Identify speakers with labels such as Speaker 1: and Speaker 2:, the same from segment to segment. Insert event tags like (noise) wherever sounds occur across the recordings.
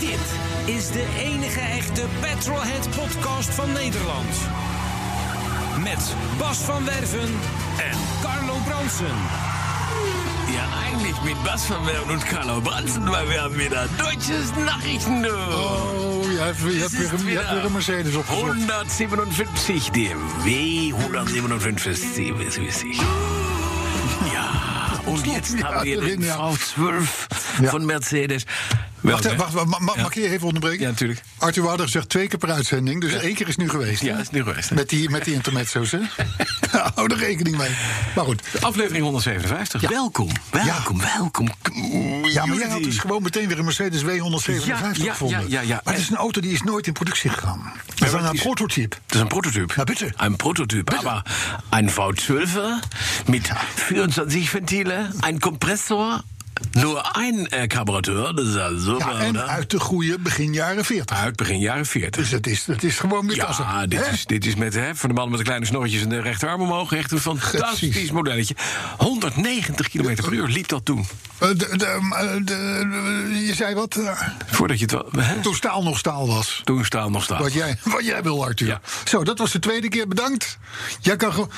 Speaker 1: Dit is de enige echte Petrolhead podcast van Nederland. Met Bas van Werven en Carlo Bronsen.
Speaker 2: Ja, eigentlich mit Bass von Werben und Carlo Branzen, weil wir haben wieder deutsches Nachrichten.
Speaker 3: Oh, je hebt, je hebt weer, een- je hebt weer een Mercedes opgezocht.
Speaker 2: 157 DMW, 157 CW. Ja, und jetzt
Speaker 3: Ja,
Speaker 2: haben wir den
Speaker 3: drin, ja.
Speaker 2: V12
Speaker 3: Ja.
Speaker 2: von Mercedes.
Speaker 3: Wacht,
Speaker 2: Ja,
Speaker 3: eh, wacht, wacht, ma- ma-
Speaker 2: Ja.
Speaker 3: mag ik je even onderbreken?
Speaker 2: Ja, natuurlijk.
Speaker 3: Arthur Wouter zegt twee keer per uitzending, dus één keer is nu geweest.
Speaker 2: Ja, is nu geweest, hè?
Speaker 3: Met die, met die intermezzo's, (laughs) hè? Nou, Hou er rekening mee. Maar goed.
Speaker 2: Aflevering 157. Welkom, welkom, welkom.
Speaker 3: Ja, maar jij had dus gewoon meteen weer een Mercedes W157
Speaker 2: Ja, ja,
Speaker 3: gevonden.
Speaker 2: ja, ja, ja.
Speaker 3: Maar dat is een auto die is nooit in productie gegaan. Dat is
Speaker 2: maar
Speaker 3: een
Speaker 2: die is-
Speaker 3: prototype.
Speaker 2: Das ist ein Prototyp.
Speaker 3: Na bitte.
Speaker 2: Ein Prototyp. Aber ein V12er mit 24 Ventile, ein Kompressor, nur ein äh, Karburateur. Das ist ja super,
Speaker 3: Ja, en
Speaker 2: oder? Ah,
Speaker 3: uit de goede begin jaren 40.
Speaker 2: Uit begin jaren 40.
Speaker 3: Dus dat is, dat is gewoon weer klasse.
Speaker 2: Ja, dit
Speaker 3: Hè?
Speaker 2: is, dit is met, hè, voor de man met de kleine snorretjes en de rechterarm omhoog. Echt een fantastisch
Speaker 3: Precies.
Speaker 2: modelletje. 190 km per uur liep dat toen.
Speaker 3: Eh, de- de- eh, de- de- je zei wat? eh,
Speaker 2: Voordat je het wel... hè?
Speaker 3: Toen staal nog staal was.
Speaker 2: Toen staal nog staal.
Speaker 3: Wat jij, wat jij wil, Arthur.
Speaker 2: Ja.
Speaker 3: Zo, dat was de tweede keer. Bedankt. Jij kan gewoon.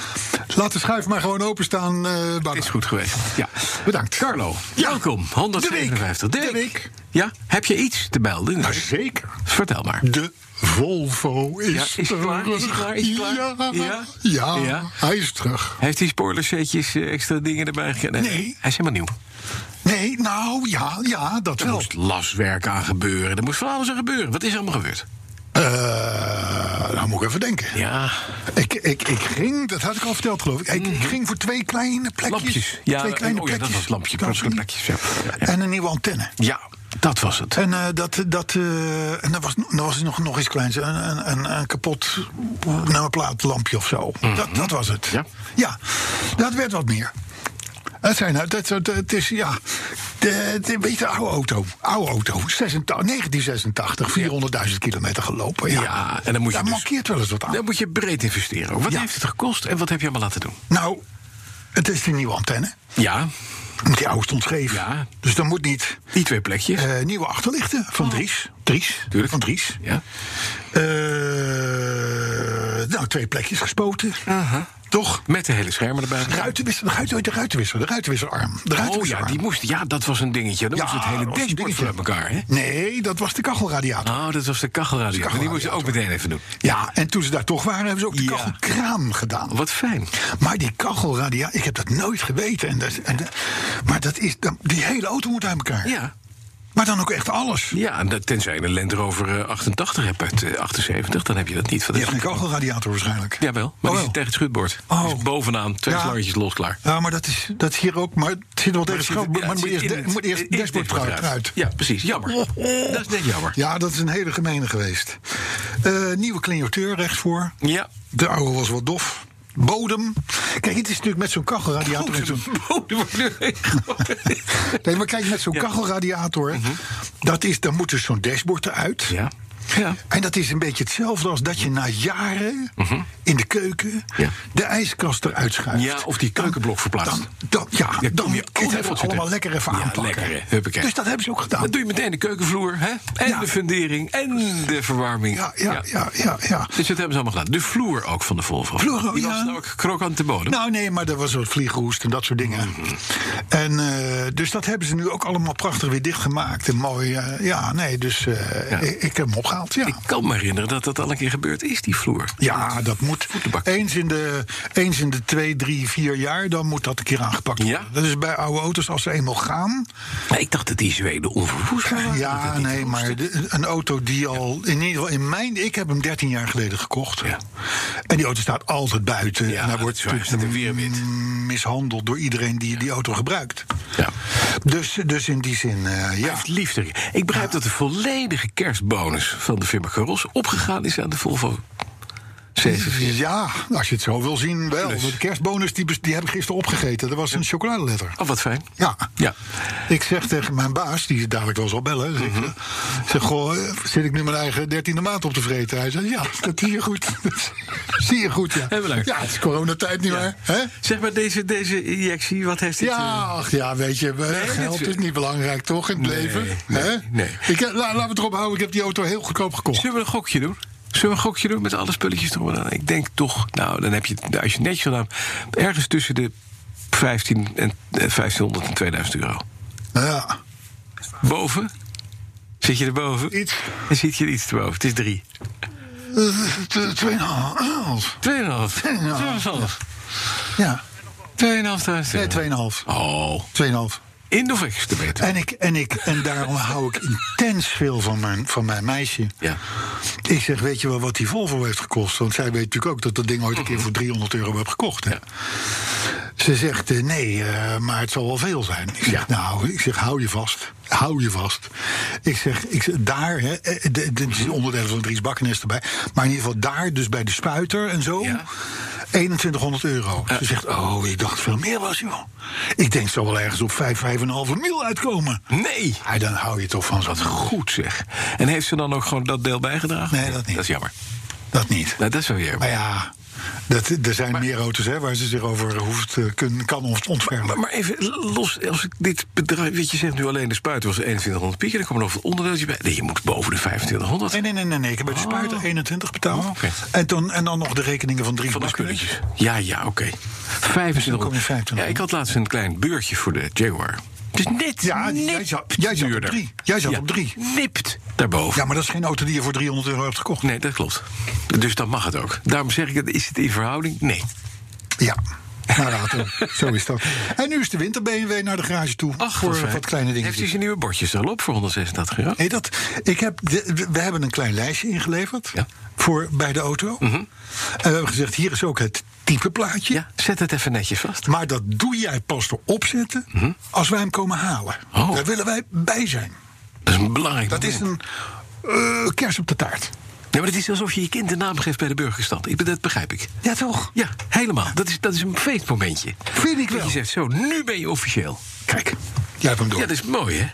Speaker 3: Laat de schuif maar gewoon openstaan. eh Barbara.
Speaker 2: Is goed geweest. Ja.
Speaker 3: Bedankt.
Speaker 2: Carlo,
Speaker 3: Ja.
Speaker 2: welkom.
Speaker 3: De
Speaker 2: 157.
Speaker 3: week.
Speaker 2: Dirk.
Speaker 3: De week.
Speaker 2: Ja, heb je iets te melden?
Speaker 3: Maar zeker.
Speaker 2: Vertel maar.
Speaker 3: De Volvo is,
Speaker 2: Ja, is hij
Speaker 3: terug.
Speaker 2: klaar? Is hij klaar? Is hij klaar?
Speaker 3: Ja.
Speaker 2: Ja?
Speaker 3: Ja.
Speaker 2: Ja.
Speaker 3: hij is terug.
Speaker 2: Heeft hij spoilersetjes, eh, extra dingen erbij gekregen?
Speaker 3: Nee.
Speaker 2: Hij is helemaal nieuw.
Speaker 3: Nee, nou ja, ja dat
Speaker 2: Er
Speaker 3: wel.
Speaker 2: moest laswerk aan gebeuren. Er moest van alles aan gebeuren. Wat is er allemaal gebeurd?
Speaker 3: Eh, nou moet ik even denken.
Speaker 2: Ja,
Speaker 3: Ik, ik, ik ging, dat had ik al verteld geloof ik. Ik, ik ging voor twee kleine plekjes.
Speaker 2: Mhm. Lampjes. Ja,
Speaker 3: twee kleine
Speaker 2: oh ja, dat was het lampje. Plotseling plekjes, ja. Ja.
Speaker 3: En een nieuwe antenne.
Speaker 2: ja dat was het.
Speaker 3: En eh, dat, dat, eh, en dat was, dat was nog, nog iets kleins. Een, een, een, een kapot nou, een plaatlampje of zo. dat, dat was het.
Speaker 2: Mhm. Ja.
Speaker 3: dat werd wat meer. Het, zijn, het, het, het- het is, ja, de, het is een beetje een oude auto. Oude auto, 86, 1986, 400.000 kilometer gelopen. Ja.
Speaker 2: Ja, en dan moet je
Speaker 3: Daar
Speaker 2: dus-
Speaker 3: mankeert wel eens wat aan.
Speaker 2: Daar moet je breed investeren. ook. Wat
Speaker 3: Ja.
Speaker 2: heeft het gekost en wat heb je allemaal laten doen?
Speaker 3: Nou, het is die nieuwe antenne.
Speaker 2: Ja,
Speaker 3: Want die oude stond scheef.
Speaker 2: Ja.
Speaker 3: Dus dan moet niet
Speaker 2: die twee plekjes.
Speaker 3: eh, nieuwe achterlichten van Dries. Dries,
Speaker 2: Oh. Tuurlijk.
Speaker 3: van Dries.
Speaker 2: Ja.
Speaker 3: Eh, nou, twee plekjes gespoten. Toch?
Speaker 2: Met de hele schermen erbij.
Speaker 3: Ruitenwissel, de, ruiten, de ruitenwissel, de ruitenwisselarm.
Speaker 2: Oh
Speaker 3: De
Speaker 2: ja,
Speaker 3: ruitenwisselarm.
Speaker 2: die moest, ja, dat was een dingetje. Dan moest het hele
Speaker 3: dat was een
Speaker 2: dashboard
Speaker 3: dingetje.
Speaker 2: voor uit elkaar. Hè?
Speaker 3: Nee, dat was de kachelradiator.
Speaker 2: Oh, dat was de kachelradio. Die moest je ook meteen even doen.
Speaker 3: Ja, en toen ze daar toch waren, hebben ze ook de
Speaker 2: Ja.
Speaker 3: kachelkraam gedaan.
Speaker 2: Wat fijn.
Speaker 3: Maar die kachelradiator, ik heb dat nooit geweten. En dat, en dat- maar dat is, dan- die hele auto moet uit elkaar.
Speaker 2: Ja,
Speaker 3: Maar dan ook echt alles.
Speaker 2: Ja, en dat- tenzij je een Land Rover eh, 88 hebt uit eh, 78, dan heb je dat niet. Van
Speaker 3: Die heeft een kachelradiator waarschijnlijk.
Speaker 2: Jawel, maar
Speaker 3: Oh,
Speaker 2: die zit tegen het schutbord.
Speaker 3: Oh.
Speaker 2: Dus bovenaan, twee
Speaker 3: Ja.
Speaker 2: slangetjes los, klaar.
Speaker 3: Ja, maar dat is, dat is hier ook. Maar het zit wel tegen het
Speaker 2: zit-
Speaker 3: schap.
Speaker 2: ja,
Speaker 3: Maar
Speaker 2: het
Speaker 3: moet
Speaker 2: zit
Speaker 3: eerst
Speaker 2: in
Speaker 3: de-
Speaker 2: het-
Speaker 3: moet eerst
Speaker 2: in het
Speaker 3: dashboard
Speaker 2: dashboard
Speaker 3: eruit. Oh.
Speaker 2: Ja, precies, jammer. Dat is net jammer.
Speaker 3: Ja, dat is een hele gemene geweest. Eh, nieuwe clignoteur rechts voor.
Speaker 2: Ja.
Speaker 3: De oude was wat dof. Bodem. Kijk, het is natuurlijk met zo'n kachelradiator.
Speaker 2: (laughs)
Speaker 3: en zo'n-
Speaker 2: Oh, er wordt nu
Speaker 3: (laughs) Nee, maar kijk, met zo'n
Speaker 2: Ja. Mhm.
Speaker 3: kachelradiator. Dat is, dan moet dus zo'n dashboard eruit.
Speaker 2: Ja. Ja.
Speaker 3: En dat is een beetje hetzelfde als dat je na jaren in de keuken
Speaker 2: Mhm. Ja.
Speaker 3: de ijskast eruit schuift.
Speaker 2: Ja, of die keukenblok verplaatst.
Speaker 3: Dan, dan, ja,
Speaker 2: Ja,
Speaker 3: dan
Speaker 2: kom je
Speaker 3: kun je
Speaker 2: overal
Speaker 3: het even
Speaker 2: zitten.
Speaker 3: allemaal lekker even
Speaker 2: Ja,
Speaker 3: aanpakken.
Speaker 2: lekker, hè. Huppakee.
Speaker 3: Dus dat hebben ze ook gedaan.
Speaker 2: Dat doe je meteen de keukenvloer, hè? En
Speaker 3: Ja.
Speaker 2: de fundering, en de verwarming.
Speaker 3: Ja, ja, ja, ja, ja.
Speaker 2: Dus dat hebben ze allemaal gedaan. De vloer ook van de Volvo.
Speaker 3: Vloer ook,
Speaker 2: Die was
Speaker 3: ja.
Speaker 2: dan ook krokante bodem.
Speaker 3: Nou, nee, maar er was wat vliegenhoest en dat soort dingen.
Speaker 2: Mhm.
Speaker 3: En eh, dus dat hebben ze nu ook allemaal prachtig weer dichtgemaakt. En mooi, eh, ja, nee, dus eh,
Speaker 2: Ja.
Speaker 3: ik, ik heb hem opgehaald. betaald. Ja.
Speaker 2: Ik kan me herinneren dat dat al een keer gebeurd is, die vloer.
Speaker 3: Ja, dat moet.
Speaker 2: Voetenbak.
Speaker 3: Eens in, de, eens in de twee, drie, vier jaar, dan moet dat een keer aangepakt worden.
Speaker 2: Ja.
Speaker 3: Dat is bij oude auto's, als ze eenmaal gaan.
Speaker 2: Maar ik dacht dat die Zweden onverwoestbaar waren. dat het
Speaker 3: Ja,
Speaker 2: niet
Speaker 3: nee,
Speaker 2: moest.
Speaker 3: maar de- een auto die al, in ieder geval in mijn... Ik heb hem 13 jaar geleden gekocht.
Speaker 2: Ja.
Speaker 3: En die auto staat altijd buiten.
Speaker 2: Ja,
Speaker 3: en hij
Speaker 2: dat
Speaker 3: wordt
Speaker 2: is waar, staat een weerwind.
Speaker 3: mm, mishandeld door iedereen die die auto gebruikt.
Speaker 2: Ja.
Speaker 3: Dus, dus in die zin, eh,
Speaker 2: Hij
Speaker 3: ja.
Speaker 2: heeft liefde. Ik begrijp dat de volledige kerstbonus van de firma Caros opgegaan is aan de Volvo 47.
Speaker 3: Ja, als je het zo wil zien, wel.
Speaker 2: Plus.
Speaker 3: De kerstbonus, die, bes- die heb ik gisteren opgegeten. Dat was een chocoladeletter.
Speaker 2: Oh, wat fijn.
Speaker 3: Ja.
Speaker 2: Ja.
Speaker 3: Ik zeg tegen mijn baas, die dadelijk wel zal bellen. Zeg, ik,
Speaker 2: Mhm.
Speaker 3: eh, zeg, goh, eh, zit ik nu mijn eigen dertiende maand op te vreten? Hij zegt, ja, dat zie je goed. (laughs) Dat zie je goed, ja.
Speaker 2: Heel belangrijk.
Speaker 3: Ja, het is coronatijd, niet
Speaker 2: Ja.
Speaker 3: waar? Hè?
Speaker 2: Zeg maar, deze, deze injectie, wat heeft dit...
Speaker 3: Ja,
Speaker 2: eh,
Speaker 3: ach, ja, weet je, eh,
Speaker 2: dit
Speaker 3: geld
Speaker 2: is-
Speaker 3: is niet belangrijk, toch, in het
Speaker 2: Nee,
Speaker 3: leven?
Speaker 2: nee,
Speaker 3: Hè?
Speaker 2: nee.
Speaker 3: Ik heb, la- laten we het erop houden, ik heb die auto heel goedkoop gekocht.
Speaker 2: Zullen we een gokje doen? Zullen we een gokje doen met alle spulletjes erop aan? Ik denk toch, nou, dan heb je, het- als je het netjes gedaan, hebt, ergens tussen de 15 en, eh, 1500 en 2000 euro.
Speaker 3: Ja,
Speaker 2: Boven? Zit je erboven?
Speaker 3: iets...
Speaker 2: Dan zit je er iets erboven. Het is drie.
Speaker 3: eh, t- Tweeënhalf.
Speaker 2: Tweeënhalf.
Speaker 3: Tweeënhalf.
Speaker 2: Tweeënhalf.
Speaker 3: Ja,
Speaker 2: Tweeënhalf duizend
Speaker 3: nee,
Speaker 2: euro.
Speaker 3: tweeënhalf.
Speaker 2: Oh,
Speaker 3: Tweeënhalf.
Speaker 2: in de vijfste meter.
Speaker 3: En, ik, en, ik, en daarom hou ik intens veel van mijn, van mijn meisje.
Speaker 2: Ja.
Speaker 3: Ik zeg, weet je wel wat die Volvo heeft gekost? Want zij weet natuurlijk ook dat dat ding ooit een keer voor 300 euro heb gekocht. Hè?
Speaker 2: Ja.
Speaker 3: Ze zegt, eh, nee, eh, maar het zal wel veel zijn. Ik zeg, nou, ik zeg, hou je vast. Hou je vast. Ik zeg, ik zeg daar, hè, eh, de- dit is onderdeel van Dries Bakkenest erbij. Maar in ieder geval daar, dus bij de spuiter en zo,
Speaker 2: Ja.
Speaker 3: 2100 euro. Ze zegt, oh, ik dacht veel meer was, joh. Ik denk, het zal wel ergens op 5, 5,5 mil uitkomen.
Speaker 2: Nee!
Speaker 3: Ja, dan hou je toch van zo'n
Speaker 2: Goed zeg. En heeft ze dan ook gewoon dat deel bijgedragen?
Speaker 3: Nee, dat niet.
Speaker 2: Dat is jammer.
Speaker 3: Dat niet.
Speaker 2: Nou, dat is wel weer.
Speaker 3: Maar ja, dat, er zijn meer auto's hè, waar ze zich over hoeft, eh, kun, kan ont- ontfermen.
Speaker 2: Maar even los, als ik dit bedrijf, weet je zegt nu alleen de spuit was 2100 piek, en dan komt er nog een onderdeeltje bij. Nee, je moet boven de 2500.
Speaker 3: Nee, nee, nee, nee, nee. Ik heb bij de spuiter 21 betaald.
Speaker 2: Oh, oké.
Speaker 3: en, dan, en dan nog de rekeningen van drie
Speaker 2: Van de
Speaker 3: bakken.
Speaker 2: spulletjes. Ja, ja, oké. 2500.
Speaker 3: kom je 2500.
Speaker 2: Ja, ik had laatst een klein beurtje voor de Jaguar. Dus net,
Speaker 3: Ja,
Speaker 2: net
Speaker 3: jij zat- jij zat op
Speaker 2: duurder.
Speaker 3: drie. Jij zat op drie.
Speaker 2: Nipt daarboven.
Speaker 3: Ja, maar dat is geen auto die je voor 300 euro hebt gekocht.
Speaker 2: Nee, dat klopt. Dus dan mag het ook. Daarom zeg ik, het, is het in verhouding? Nee.
Speaker 3: Ja. Nou, laten we.
Speaker 2: (laughs)
Speaker 3: zo is dat. En nu is de winter BMW naar de garage toe. voor
Speaker 2: fijn.
Speaker 3: wat kleine
Speaker 2: Heeft hij
Speaker 3: dingetjes.
Speaker 2: zijn nieuwe bordjes al op voor 136 euro?
Speaker 3: Nee, dat, ik heb de- we hebben een klein lijstje ingeleverd
Speaker 2: Ja. Mhm.
Speaker 3: voor, bij de auto. En we hebben gezegd, hier is ook het type plaatje.
Speaker 2: Ja, zet het even netjes vast.
Speaker 3: Maar dat doe jij pas erop zetten als wij hem komen halen.
Speaker 2: Mhm. Oh.
Speaker 3: Daar willen wij bij zijn.
Speaker 2: Dat is een belangrijk
Speaker 3: Dat is
Speaker 2: moment.
Speaker 3: een eh, kers op de taart.
Speaker 2: Nee, maar het is alsof je je kind de naam geeft bij de burgerstand. Ik, be- dat begrijp ik.
Speaker 3: Ja, toch?
Speaker 2: Ja, helemaal. Dat is, dat is een feestmomentje.
Speaker 3: Vind ik
Speaker 2: Dat
Speaker 3: wel.
Speaker 2: je zegt, zo, nu ben je officieel.
Speaker 3: Kijk, jij hebt hem
Speaker 2: Ja,
Speaker 3: door.
Speaker 2: dat is mooi, hè?
Speaker 3: en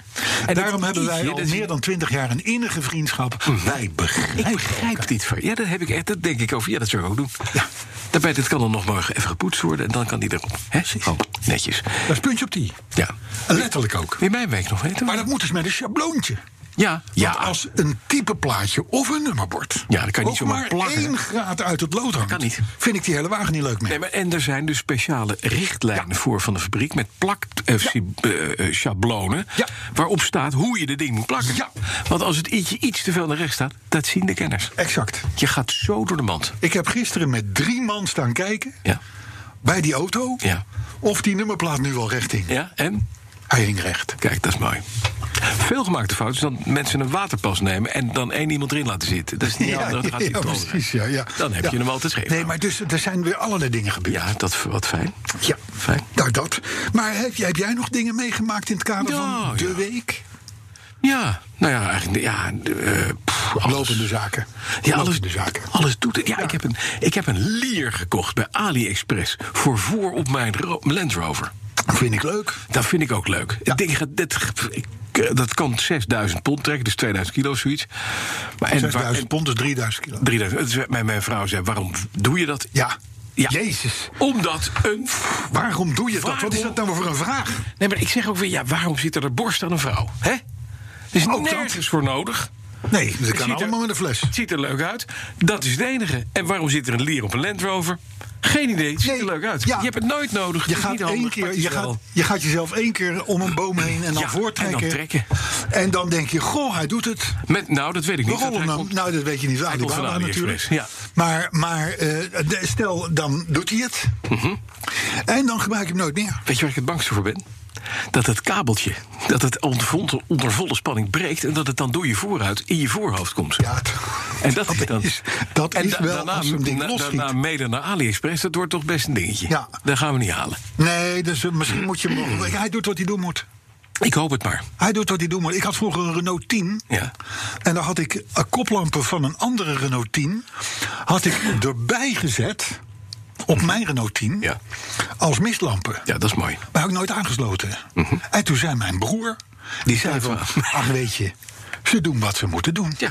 Speaker 2: dat
Speaker 3: daarom hebben wij
Speaker 2: ietsje,
Speaker 3: al
Speaker 2: dat is- Hm.
Speaker 3: meer dan twintig jaar een innige vriendschap. Wij begrijpen
Speaker 2: Ik begrijp
Speaker 3: elkaar.
Speaker 2: dit van. Ja, dat heb ik echt. Dat denk ik over. Ja, dat zou ik ook doen. Ja. Daarbij, dit kan dan nog morgen even gepoetst worden en dan kan die erop. Hè? Oh, netjes.
Speaker 3: Dat is puntje op die.
Speaker 2: Ja.
Speaker 3: Letterlijk ook.
Speaker 2: In mijn week nog weten.
Speaker 3: Maar dat moet dus met een schabloontje.
Speaker 2: Ja, ja.
Speaker 3: Want als een typeplaatje of een nummerbord...
Speaker 2: Ja, dat kan je niet
Speaker 3: ook
Speaker 2: zomaar
Speaker 3: maar
Speaker 2: plakken, hè?
Speaker 3: één graad uit het lood hangt...
Speaker 2: kan niet.
Speaker 3: vind ik die hele wagen niet leuk meer.
Speaker 2: Nee, maar, en er zijn dus speciale richtlijnen voor van de fabriek met plak eh, si- eh, eh, schablonen.
Speaker 3: Ja.
Speaker 2: Waarop staat hoe je de ding moet plakken.
Speaker 3: Ja.
Speaker 2: Want als het ietsje iets te veel naar rechts staat, dat zien de kenners.
Speaker 3: Exact.
Speaker 2: Je gaat zo door de mand.
Speaker 3: Ik heb gisteren met drie man staan kijken...
Speaker 2: Ja.
Speaker 3: bij die auto.
Speaker 2: Ja.
Speaker 3: Of die nummerplaat nu wel recht hing.
Speaker 2: Ja, en?
Speaker 3: Hij hing recht.
Speaker 2: Kijk, dat is mooi. Veel gemaakte fouten is dat mensen een waterpas nemen en dan één iemand erin laten zitten. Dat is niet
Speaker 3: ja,
Speaker 2: handig, dan gaat
Speaker 3: ja,
Speaker 2: die trommel.
Speaker 3: precies. Ja, ja.
Speaker 2: Dan heb
Speaker 3: Ja.
Speaker 2: je hem altijd scheef.
Speaker 3: Nee, maar dus, er zijn weer allerlei dingen gebeurd.
Speaker 2: Ja, dat wat fijn.
Speaker 3: Ja.
Speaker 2: Fijn.
Speaker 3: Nou, dat. Maar heb, jij- heb jij nog dingen meegemaakt in het kader
Speaker 2: Ja,
Speaker 3: van de
Speaker 2: ja.
Speaker 3: week?
Speaker 2: Ja, nou ja, eigenlijk. Ja, eh, pff, alles.
Speaker 3: Lopende zaken.
Speaker 2: Ja, alles,
Speaker 3: Lopende zaken.
Speaker 2: alles doet het. Ja, Ik, heb een, ik heb een lier gekocht bij AliExpress voor voor op mijn ro- Land Rover.
Speaker 3: Vind ik leuk.
Speaker 2: Dat vind ik ook leuk. Het ding gaat, dit, ik- eh, dat kan 6000 pond trekken, dus 2000 kilo zoiets. Maar en, waar-
Speaker 3: 6000
Speaker 2: en
Speaker 3: pond is 3000 kilo.
Speaker 2: 3000. Het is- Mijn, mijn vrouw zei: waarom doe je dat?
Speaker 3: Ja.
Speaker 2: Ja.
Speaker 3: Jezus.
Speaker 2: Omdat een.
Speaker 3: Waarom doe je dat?
Speaker 2: Waarom?
Speaker 3: Wat is dat nou voor een vraag?
Speaker 2: Nee, maar ik zeg ook weer: ja, waarom zit er een borst aan een vrouw? Hè? Er is
Speaker 3: Ook dat.
Speaker 2: nergens voor nodig.
Speaker 3: Nee, dat
Speaker 2: Het
Speaker 3: kan
Speaker 2: ziet er-
Speaker 3: allemaal met een fles.
Speaker 2: Het ziet er leuk uit. Dat is het enige. En waarom zit er een lier op een Land Rover?
Speaker 4: Geen idee. Het ziet
Speaker 3: Nee,
Speaker 4: er leuk uit.
Speaker 3: ja.
Speaker 4: Je hebt het nooit nodig.
Speaker 3: Je
Speaker 4: Het is
Speaker 3: gaat,
Speaker 4: niet
Speaker 3: één
Speaker 4: handig, maar
Speaker 3: keer,
Speaker 4: het is
Speaker 3: je, gaat,
Speaker 4: wel-
Speaker 3: je gaat jezelf één keer om een boom heen en dan
Speaker 4: Ja,
Speaker 3: voortrekken.
Speaker 4: en dan trekken.
Speaker 3: En dan denk je, goh, hij doet het.
Speaker 4: Met, nou, dat weet ik
Speaker 3: We
Speaker 4: niet. Dat
Speaker 3: rollen
Speaker 4: hij
Speaker 3: hem.
Speaker 4: komt-
Speaker 3: Nou, dat weet je niet.
Speaker 4: komt van
Speaker 3: Alibaba natuurlijk.
Speaker 4: AliExpress, ja.
Speaker 3: Maar, maar eh, de- stel, dan doet hij het.
Speaker 2: Mhm.
Speaker 3: En dan gebruik je hem nooit meer.
Speaker 4: Weet je waar ik het bangste voor ben?
Speaker 2: Dat het kabeltje, dat het onder, onder volle spanning breekt... en dat het dan door je vooruit in je voorhoofd komt.
Speaker 3: Ja, het-
Speaker 2: En dat, is dan,
Speaker 3: is- (laughs) dat
Speaker 2: en
Speaker 3: is wel
Speaker 2: daarna,
Speaker 3: als zo'n ding
Speaker 2: na-
Speaker 3: losschiet.
Speaker 2: Daarna mede naar AliExpress, dat wordt toch best een dingetje.
Speaker 3: Ja.
Speaker 2: Dat gaan we niet halen.
Speaker 3: Nee, dus eh, misschien moet je hem... nog- Hij doet wat hij doen moet.
Speaker 2: Ik hoop het maar.
Speaker 3: Hij doet wat hij doen moet. Ik had vroeger een Renault 10.
Speaker 2: Ja.
Speaker 3: En daar had ik eh, koplampen van een andere Renault 10... had ik erbij gezet... op mijn Renault 10...
Speaker 2: Ja.
Speaker 3: als mistlampen.
Speaker 2: Ja, dat is mooi.
Speaker 3: Maar ook nooit aangesloten.
Speaker 2: Mhm.
Speaker 3: En toen zei mijn broer, die zei van... (laughs) Ach, weet je, ze doen wat ze moeten doen.
Speaker 2: Ja.